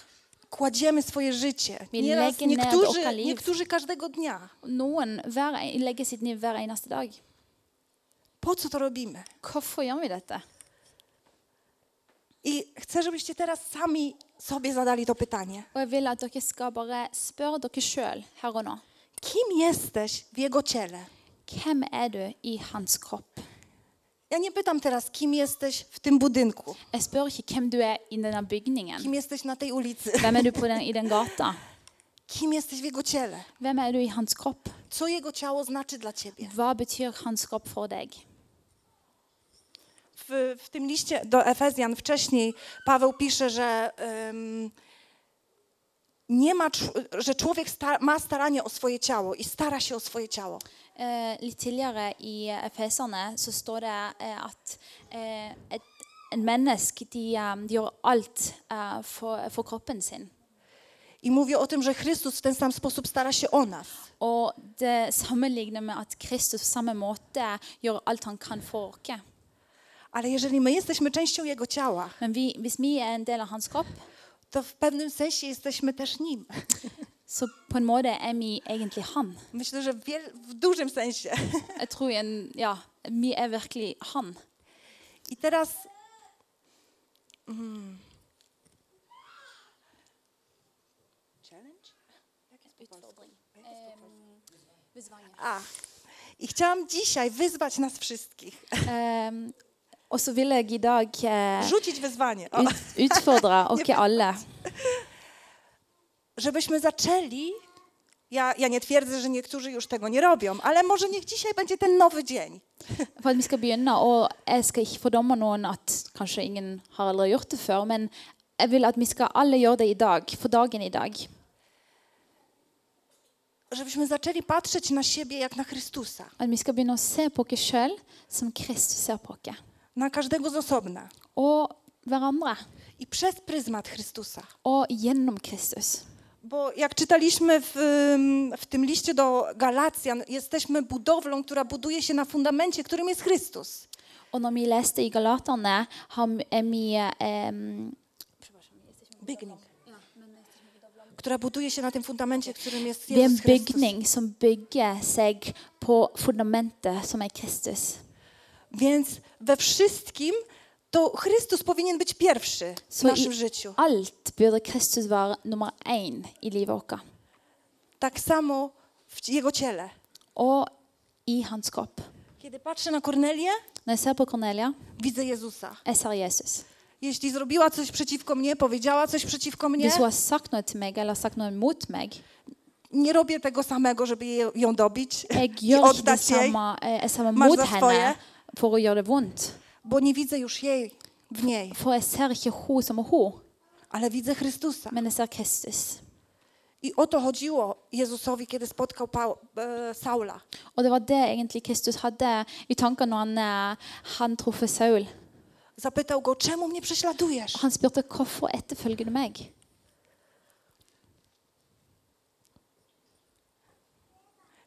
Kładziemy swoje życie. Min Nieraz legend niektórzy, Okaliv. niektórzy każdego dnia. Noen hver, en- legger sitt liv hver eneste dag. Po co to robimy? Hvorfor gjør vi dette? I chcę, żebyście teraz sami sobie zadali to pytanie. Og jeg vil at dere skal bare spørre dere sjøl her og nå. Kim jesteś w Jego ciele? Hvem er du i hans kropp? Ja nie pytam teraz, kim jesteś w tym budynku, Jeg spør ikke hvem du er i denne bygningen. kim jesteś na tej ulicy, Hvem er du på den, i den gata? kim jesteś w Jego ciele, Hvem er du i hans kropp? co Jego ciało znaczy dla Ciebie. Hva betyr hans kropp for deg? W, w tym liście do Efezjan wcześniej Paweł pisze, że, ym, nie ma, czu- że człowiek sta, ma staranie o swoje ciało i stara się o swoje ciało. Eh, litt tidligere i Efeserne så står det eh, at eh, et, en menneske de, eh, de gjør alt eh, for, for kroppen sin. I mówię o tym, że Chrystus w ten sam sposób stara się o nas. Og det sammenligner med at Kristus på samme måte gjør alt han kan for oss. Ale jeżeli my jesteśmy częścią Jego ciała, Men vi, hvis vi er en del av hans kropp, to w pewnym sensie jesteśmy też Nim. så på en måte er vi egentlig han. Myślę, że w, wiel- w dużym sensie. Jeg tror en, ja, vi er virkelig han. I teraz. Mm, challenge? A. I chciałam dzisiaj wyzwać nas wszystkich, Eh, og så vil jeg i dag eh, rzucić wyzwanie, o, ut, utfordre oss alle. żebyśmy zaczęli. Ja, ja nie twierdzę, że niektórzy już tego nie robią, ale może niech dzisiaj będzie ten nowy dzień. For at vi skal begynne, og jeg skal ikke fordomme noen at kanskje ingen har aldri gjort det før, men jeg vil at vi skal alle gjøre det i dag, for dagen i dag. Żebyśmy zaczęli patrzeć na siebie jak na Chrystusa, At vi skal begynne å se på oss sjøl som Kristus ser på oss. na każdego z osobna Og hverandre. i przez pryzmat Chrystusa. Og gjennom Kristus. Bo jak czytaliśmy w, ym, w tym liście do Galacjan, jesteśmy budowlą, która buduje się na fundamencie, którym jest Chrystus. Og når vi leste i Galaterne, har vi- er vi eh, Bygning. Która buduje się na tym fundamencie, którym jest Vi er en Jezus Chrystus. bygning som bygger seg på fundamentet som er Kristus. Więc we wszystkim to Chrystus powinien być pierwszy w Så naszym i życiu. alt burde Kristus være nummer én i livet vårt. Tak samo w Jego ciele. Og i hans kropp. Kiedy patrzę na Kornelię, Når jeg ser på Cornelia, widzę Jezusa. jeg ser Jesus. Jeśli zrobiła coś przeciwko mnie, powiedziała coś przeciwko mnie, Hvis hun har sagt noe til meg eller sagt noe mot meg, nie robię tego samego, żeby je- ją dobić jeg i gjør ikke det oddać jej. samme, eh, jeg ser Masz mot za henne swoje. for å gjøre det vondt. bo nie widzę już jej w niej, For jeg ser ikke hun som hun, ale widzę Chrystusa. men jeg ser Kristus. I o to chodziło Jezusowi, kiedy spotkał Pał, e, Saula. Og det var det egentlig Kristus hadde i tankene når han, eh, han truffet Saul. Zapytał go, czemu mnie prześladujesz? Han spurte hvorfor etterfølger du meg?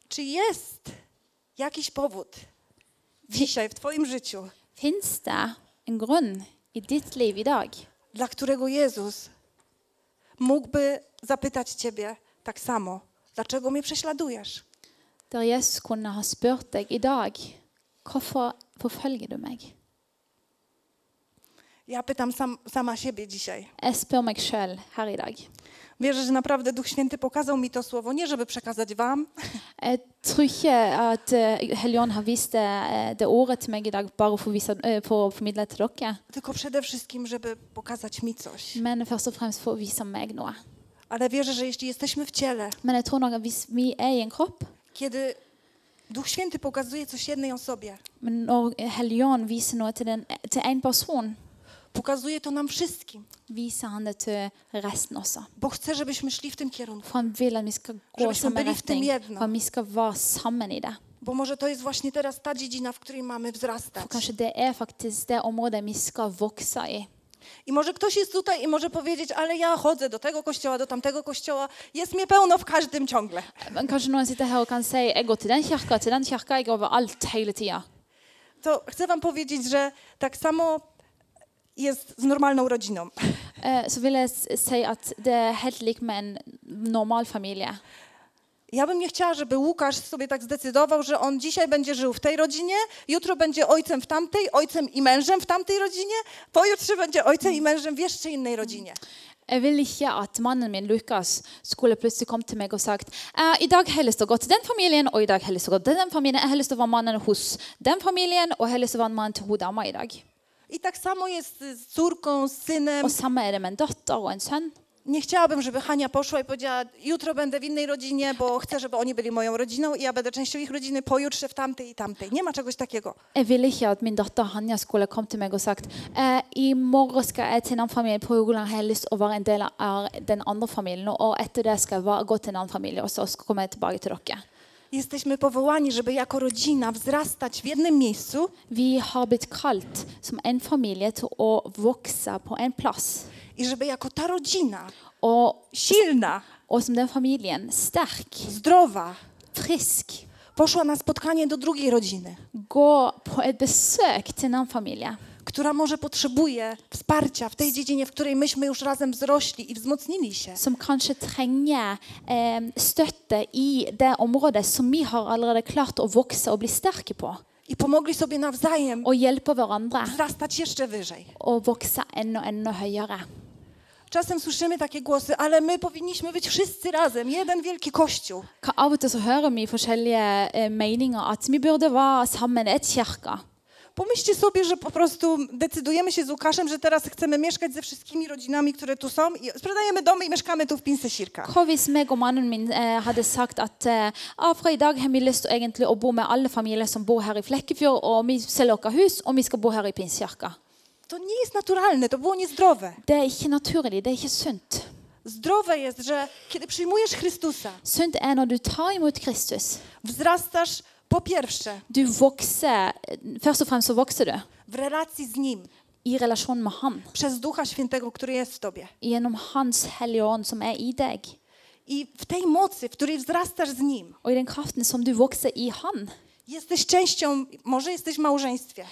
Czy jest jakiś powód dzisiaj w Twoim życiu, Fins det en grunn i ditt liv i dag, dla którego Jezus mógłby zapytać Ciebie tak samo: Dlaczego mnie prześladujesz? der Jesus kunne ha spurt deg i dag Hvorfor forfølger du meg? Ja pytam sam, sama siebie dzisiaj. Jeg spør meg sjøl her i dag. Wierzę, że naprawdę Duch Święty pokazał mi to słowo, nie żeby przekazać Wam, Jeg tror ikke at eh, Helligånden har vist det, eh, det ordet til meg i dag bare for å, vise, eh, for å formidle det til dere, tylko przede wszystkim, żeby pokazać mi coś. men først og fremst for å vise meg noe. Ale wierzę, że jeśli jesteśmy w ciele, Men jeg tror nok at hvis vi er i en kropp, kiedy Duch Święty pokazuje coś jednej osobie, men når Helligånden viser noe til, den, til en person, pokazuje to nam wszystkim, viser han det til resten også. bo chce, żebyśmy szli w tym kierunku. For han vil at vi skal Så gå vi skal samme bli retning, jedno. for at vi skal være sammen i det. Bo może to jest właśnie teraz ta dziedzina, w której mamy wzrastać. For kanskje det er faktisk det området vi skal vokse i. I może ktoś jest tutaj i może powiedzieć, ale ja chodzę do tego kościoła, do tamtego kościoła, jest mnie pełno w każdym ciągle. Men kanskje noen sitter her og kan si jeg går til den kirka, til den kirka, jeg går overalt hele tida. To chcę wam powiedzieć, że tak samo jest z normalną rodziną. Eh, så vil jeg s- si at det er helt lik med en normal familie. Ja bym nie chciała, żeby Łukasz sobie tak zdecydował, że on dzisiaj będzie żył w tej rodzinie, jutro będzie ojcem w tamtej, ojcem i mężem w tamtej rodzinie, pojutrze będzie ojcem i mężem w jeszcze innej rodzinie. Jeg vil ikke at mannen min Lukas skulle plutselig komme til meg og sagt eh, i dag har jeg lyst til å gå til den familien, og i dag har jeg lyst til å gå til den familien. Jeg har lyst til å være mannen hos den familien, og jeg har lyst til å være mannen til hun dama i dag. I tak samo jest z córką, z synem. Og samme er det med en datter og en sønn. Nie chciałabym, żeby Hania poszła i powiedziała, jutro będę w innej rodzinie, bo chcę, żeby oni byli moją rodziną i ja będę częścią ich rodziny, pojutrze w tamtej i tamtej. Nie ma czegoś takiego. Jeg ville ikke at min datter Hanja skulle komme til meg og sagt eh, i morgen skal jeg til den familien på Rogaland, jeg har lyst til å være en del av den andre familien, og etter det skal jeg va- gå til en annen familie, og så skal- kommer jeg tilbake til dere. Jesteśmy powołani, żeby jako rodzina wzrastać w jednym miejscu Vi har blitt kalt som en familie til å vokse på en plass, i żeby jako ta rodzina, og, silna, og som den familien, sterk, zdrowa, frisk, poszła na spotkanie do drugiej rodziny, gå på et besøk til en annen familie, która może potrzebuje wsparcia w tej dziedzinie, w której myśmy już razem wzrośli i wzmocnili się. som kanskje trenger eh, støtte i det området som vi har allerede klart å vokse og bli sterke på. I pomogli sobie nawzajem og hjelpe hverandre wzrastać jeszcze wyżej. å vokse enda enda høyere. Czasem słyszymy takie głosy, ale my powinniśmy być wszyscy razem, jeden wielki kościół. Ka- Av og til så hører vi forskjellige eh, meninger at vi burde være sammen et kirke. Pomyślcie sobie, że po prostu decydujemy się z Łukaszem, że teraz chcemy mieszkać ze wszystkimi rodzinami, które tu są i sprzedajemy domy i mieszkamy tu w Pinsesirka. Hva hvis meg og mannen min eh, hadde sagt at eh, ah, fra i dag har vi lyst til egentlig å bo med alle familier som bor her i Flekkefjord, og vi selger vårt hus, og vi skal bo her i Pinsekirka? To nie jest naturalne, to było niezdrowe. Det er ikke naturlig, det er ikke sunt. Zdrowe jest, że kiedy przyjmujesz Chrystusa, Sunt er når du tar imot Kristus. wzrastasz po pierwsze Du vokser, Først og fremst så vokser du w relacji z Nim i relasjon med Han, przez Ducha Świętego, który jest w Tobie. gjennom Hans Hellige Ånd som er i deg. I w tej mocy, w której wzrastasz z Nim, Og i den kraften som du vokser i Han. jesteś częścią, może jesteś w małżeństwie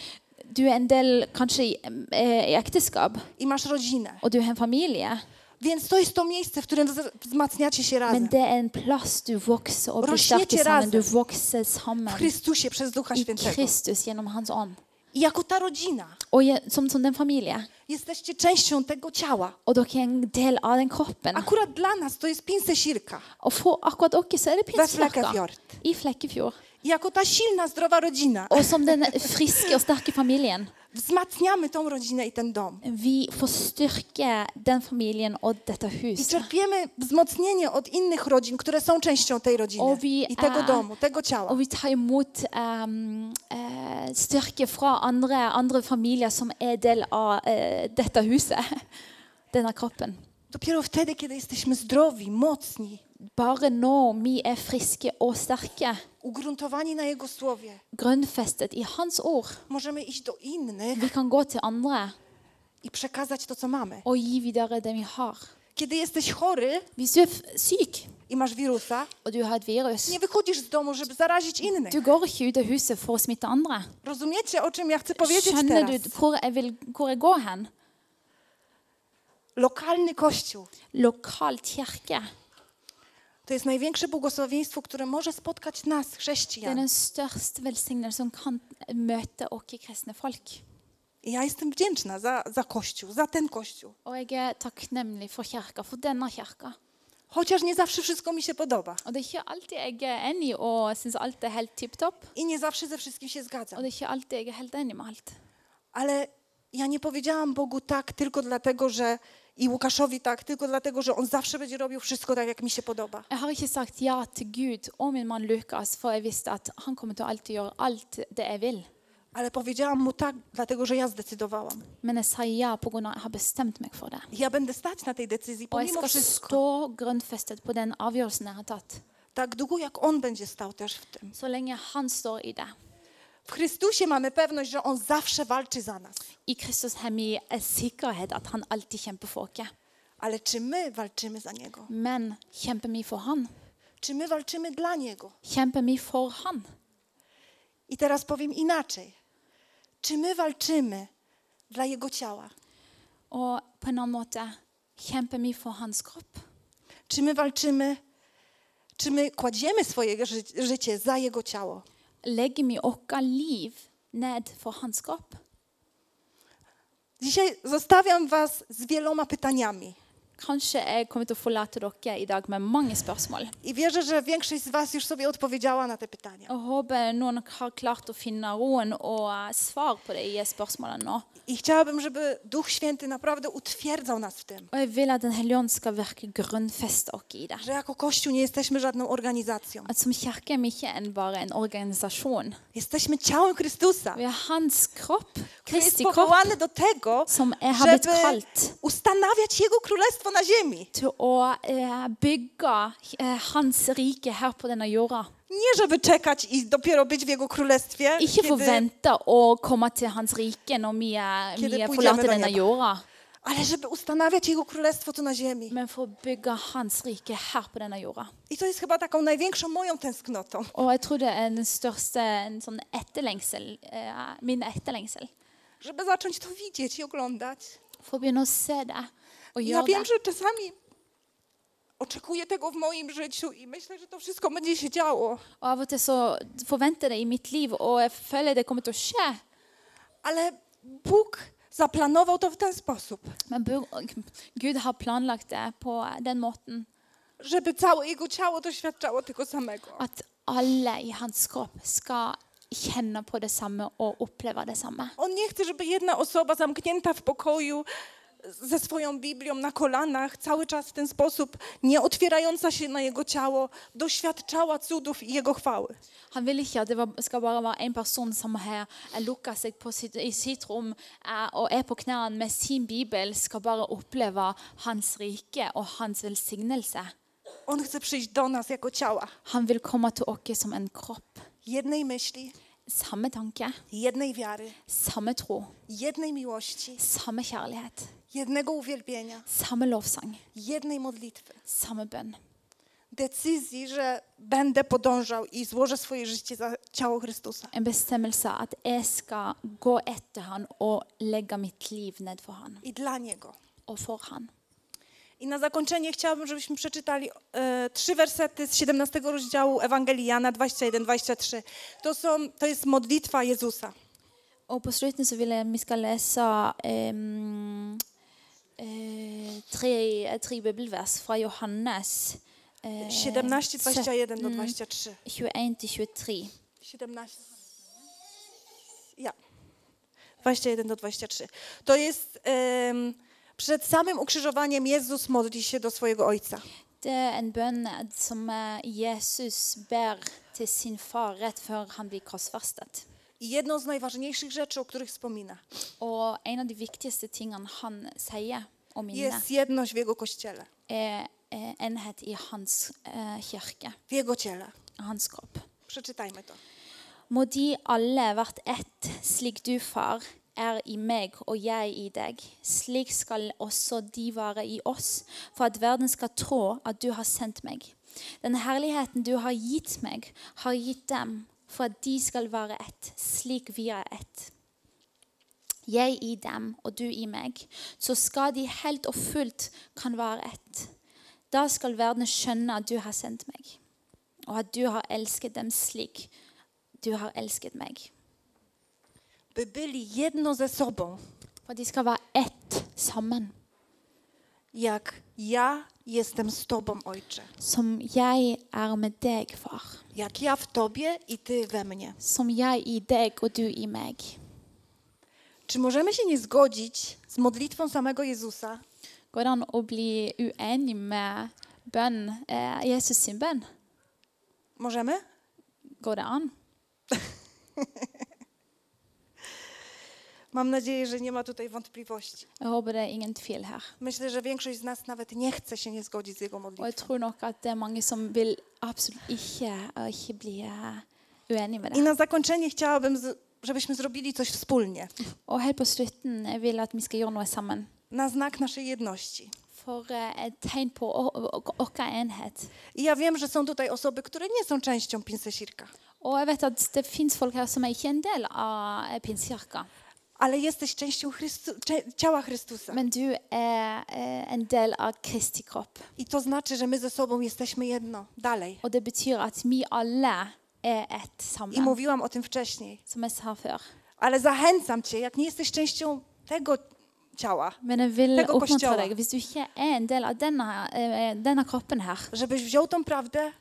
Du er en del kanskje i, eh, i ekteskap, i masz rodzinę. og du har en familie. Więc to jest to miejsce, w którym wz- wzmacniacie się Men razem. det er en plass du vokser Altså, og blir Rośniecie sterk sammen. razem. Du vokser W sammen Chrystusie przez Ducha i Świętego. Kristus gjennom Hans ånd. I jako ta rodzina Og je- som, som den familie. jesteście częścią tego ciała. Og dere er en del av den kroppen. Akurat dla nas to jest pinsesirka. Og for akkurat dere så er det pinsekirka. Flekkefjord. I Flekkefjord. I jako ta silna, zdrowa rodzina Og som den friske og sterke familien. wzmacniamy tą rodzinę i ten dom. Vi forstyrker den familien og dette I huset. czerpiemy wzmocnienie od innych rodzin, które są częścią tej rodziny Owi- i tego a- domu, tego ciała. Og vi tar imot em, eh, styrke fra andre, andre familier som er del av eh, dette huset. Denne kroppen. Dopiero wtedy, kiedy jesteśmy zdrowi, mocni, Bare når vi er friske og sterke, ugruntowani na Jego Słowie, grønnfestet i Hans ord, możemy iść do innych vi kan gå til andre i przekazać to, co mamy. og gi videre det vi har. Kiedy jesteś chory, Hvis du er f- syk, i masz wirusa, og du har et virus. nie wychodzisz z domu, żeby zarazić innych. Du går ikke ut av huset for å smitte andre. Rozumiecie, o czym ja chcę powiedzieć Skjønner teraz? du hvor jeg, vil, hvor jeg går hen? Lokalny kościół Lokal kirke. to jest największe błogosławieństwo, które może spotkać nas, Det er chrześcijan. den største velsignelsen som kan møte oss kristne folk. I ja jestem wdzięczna za, za kościół, za ten kościół. Og jeg er takknemlig for kirka, for denne kirka. Chociaż nie zawsze wszystko mi się podoba Og det er ikke alltid jeg er enig og syns alt er helt tipp topp. i nie zawsze ze wszystkim się zgadzam. Og det er ikke alltid jeg er helt enig med alt. Ale ja nie powiedziałam Bogu tak tylko dlatego, że i Łukaszowi tak tylko dlatego, że on zawsze będzie robił wszystko tak, jak mi się podoba. Jeg har ikke sagt ja til Gud og min mann Lukas, for jeg visste at han kommer til å alltid gjøre alt det jeg vil. Ale powiedziałam mu tak, dlatego że ja zdecydowałam. Men jeg sier ja pga. at jeg har bestemt meg for det. Ja będę stać na tej decyzji Og jeg pomimo skal wszystko. stå grunnfestet på den avgjørelsen jeg har tatt, Tak długo, jak on będzie stał też w tym. så lenge han står i det. W Chrystusie mamy pewność, że on zawsze walczy za nas. I Kristus har vi en sikkerhet at han alltid kjemper for oss. Ale czy my walczymy za niego? Men kjemper vi for han? Czy my walczymy dla niego? Kjemper vi for han? I teraz powiem inaczej. Czy my walczymy dla jego ciała? Og på en annen måte kjemper vi for hans kropp? Czy my walczymy, czy my kładziemy swoje ży- życie za Jego ciało? Legger vi vårt liv ned for hans kropp? Dzisiaj zostawiam Was z wieloma pytaniami Kanskje jeg kommer til å forlate dere i dag med mange spørsmål. i wierzę, że większość z Was już sobie odpowiedziała na te pytania. Jeg håper noen har klart å finne roen og eh, svar på de spørsmålene nå. I chciałabym, żeby Duch Święty naprawdę utwierdzał nas w tym, Og jeg vil at Den hellige ånd skal virke grunnfeste oss i det. że jako Kościół nie jesteśmy żadną organizacją. At som kirke er vi ikke en, bare en organisasjon. Jesteśmy ciałem Chrystusa, Vi er hans kropp, który jest Kristi kropp, powołany do tego, som jeg har blitt żeby kalt ustanawiać Jego królestwo na ziemi. til å eh, bygge eh, hans rike her på denne jorda. Nie żeby czekać i dopiero być w Jego królestwie, Ikke kiedy, forvente å komme til hans rike når vi, er, Kiedy vi er pójdziemy forlater do denne nieba. jorda, ale żeby ustanawiać Jego królestwo tu na ziemi. men for å bygge hans rike her på denne jorda. I to jest chyba taką największą moją tęsknotą, Og jeg tror det er den største en sånn etterlengsel, eh, min etterlengsel. żeby zacząć to widzieć i oglądać. For å begynne å se det og Ja gjøre wiem, det. że czasami oczekuję tego w moim życiu i myślę, że to wszystko będzie się działo, Og av og til så forventer jeg det i mitt liv, og jeg føler det kommer til å skje. ale Bóg zaplanował to w ten sposób, Men Bur- Gud har planlagt det på den måten żeby całe jego ciało doświadczało tego samego. at alle i hans kropp skal kjenne på det samme og oppleve det samme. On nie chce, żeby jedna osoba zamknięta w pokoju ze swoją Biblią na kolanach, cały czas w ten sposób, nie otwierająca się na jego ciało, doświadczała cudów i jego chwały. Han vil ikke at det var, skal bare være en person som har lukka seg på sitt, i sitt rom eh, og er på knærne med sin bibel, skal bare oppleve hans rike og hans velsignelse. On chce przyjść do nas jako ciała. Han vil komme til oss som en kropp. jednej myśli, Samme tanke, jednej wiary, samme tro, jednej miłości, samme kjærlighet, jednego uwielbienia, samme lovsang, jednej modlitwy. samme bønn. Decyzji, że będę podążał i złożę swoje życie za ciało Chrystusa. En bestemmelse at jeg skal gå etter han og legge mitt liv ned for han I dla Niego. og for han. I na zakończenie chciałabym, żebyśmy przeczytali e, trzy wersety z 17 rozdziału Ewangelii Jana 21-23. To, są- to jest modlitwa Jezusa. Og på slutten så vil jeg vi skal lese em, eh, tre, eh, tre bibelvers fra Johannes Eee, eh, 17, 21 do 23. 21 til 23. 17. Ja. 21 do 23. To jest em, przed samym ukrzyżowaniem Jezus modli się do swojego Ojca. Det er en bønn som eh, Jesus ber til sin far rett før han blir korsfestet. I jedną z najważniejszych rzeczy, o których wspomina, Og en av de viktigste tingene han sier og minner, jest jedność w Jego Kościele, er eh, enhet i hans eh, kirke, w Jego ciele. hans kropp. Przeczytajmy to. Må de alle vært ett, slik du, far, er i meg og jeg i deg. Slik skal også de være i oss, for at verden skal trå at du har sendt meg. Den herligheten du har gitt meg, har gitt dem, for at de skal være ett, slik vi er ett. Jeg i dem og du i meg, så skal de helt og fullt kan være ett. Da skal verden skjønne at du har sendt meg, og at du har elsket dem slik du har elsket meg. by byli jedno ze sobą, For de skal være ett sammen, jak ja jestem z Tobą, Ojcze. som jeg er med deg, far. Jak ja w Tobie i Ty we mnie. Som jeg i deg og du i meg. Czy możemy się nie zgodzić z modlitwą samego Jezusa, Går det an å bli uenig med bønn, eh, Jesus sin bønn? Możemy? Går det an? Mam nadzieję, że nie ma tutaj wątpliwości. Jeg håper det er ingen tvil her. Myślę, że większość z nas nawet nie chce się nie zgodzić z Jego Og jeg modlitwą. tror nok at det er mange som vil absolutt ikke, og ikke bli eh, uenig med I det. na zakończenie chciałabym, z- żebyśmy zrobili coś wspólnie, Og helt på slutten jeg vil at vi skal gjøre noe sammen. na znak naszej jedności. For eh, et tegn på vår enhet. I ja wiem, że są tutaj osoby, które nie są częścią Pinsesirka, Og jeg vet at det fins folk her som er ikke en del av eh, pinsekirka. ale jesteś częścią Chrystu- cze- ciała Chrystusa. Men du er eh, en del av Kristi kropp. I to znaczy, że my ze sobą jesteśmy jedno. Dalej. Og det betyr at vi alle er ett I sammen. mówiłam o tym wcześniej, Som jeg sa før. ale zachęcam cię, jak nie jesteś częścią tego ciała, Men jeg vil Tenk på oppmuntre Kościoła. deg, hvis du ikke er en del av denne, eh, denne kroppen her, żebyś wziął tą prawdę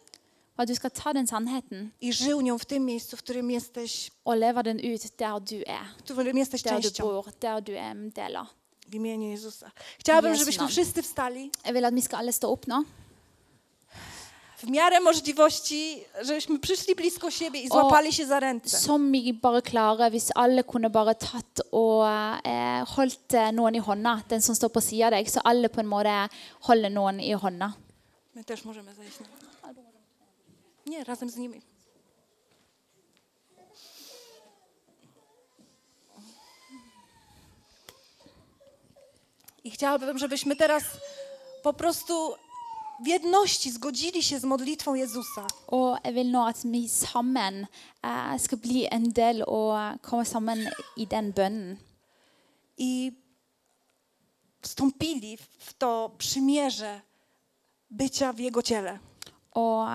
at du skal ta den sannheten i żył nią w tym miejscu, w którym jesteś, og leve den ut der du er. w którym jesteś Der du częścią. bor, der du er en del av. W imieniu Jezusa. Chciałabym, Jezu żebyśmy nam. wszyscy wstali Jeg vil at vi skal alle stå opp nå. w miarę możliwości, żebyśmy przyszli blisko siebie i złapali się za ręce. Som vi bare klarer, hvis alle kunne bare tatt og eh, holdt eh, noen i hånda, den som står på sida av deg, så alle på en måte holder noen i hånda. My też możemy zejść. Na... Nie, razem z nimi. I chciałabym, żebyśmy teraz po prostu w jedności zgodzili się z modlitwą Jezusa. Og jeg vil nå at vi sammen eh, skal bli en del og komme sammen i den bønnen. i wstąpili w to przymierze bycia w Jego ciele. Og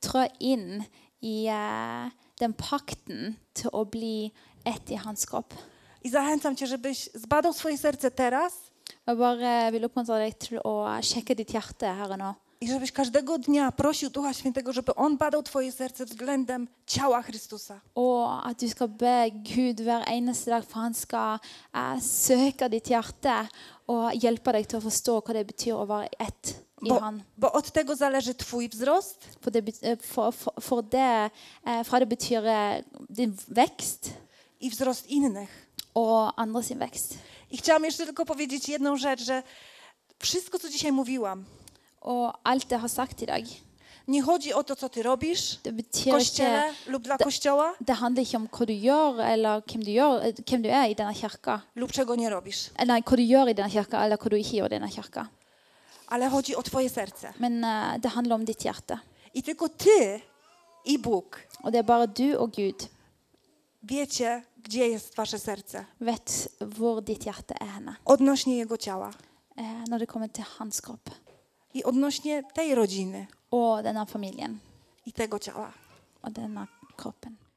trå inn i eh, den pakten til å bli ett i hans kropp. I zachęcam Cię, żebyś zbadał swoje serce teraz Jeg bare vil oppmuntre deg til å sjekke ditt hjerte her og nå. i żebyś każdego dnia prosił Ducha Świętego, żeby On badał Twoje serce względem ciała Chrystusa. Og at du skal be Gud hver eneste dag, for han skal eh, søke ditt hjerte og hjelpe deg til å forstå hva det betyr å være ett i Bo, han. bo od tego zależy Twój wzrost, For det, bet- eh, for, for, for det eh, Fra det betyr eh, din vekst i wzrost innych. og andre sin vekst. I chciałam jeszcze tylko powiedzieć jedną rzecz, że wszystko, co dzisiaj mówiłam, Og alt det jeg har sagt i dag, nie chodzi o to, co Ty robisz det w betyr ikke kościele lub dla kościoła, Det handler ikke om hva du gjør, eller hvem du, gjør, eh, hvem du er i denne kirka. lub czego nie robisz, Eh, Nei, hva du gjør i denne kirka, eller hva du ikke gjør i denne kirka. ale chodzi o Twoje serce. Men eh, det handler om ditt hjerte. I tylko Ty i Bóg Og det er bare du og Gud wiecie, gdzie jest Wasze serce vet hvor ditt hjerte er henne odnośnie Jego ciała eh, når det kommer til hans kropp i odnośnie tej rodziny og denne familien i tego ciała. og denne kroppen.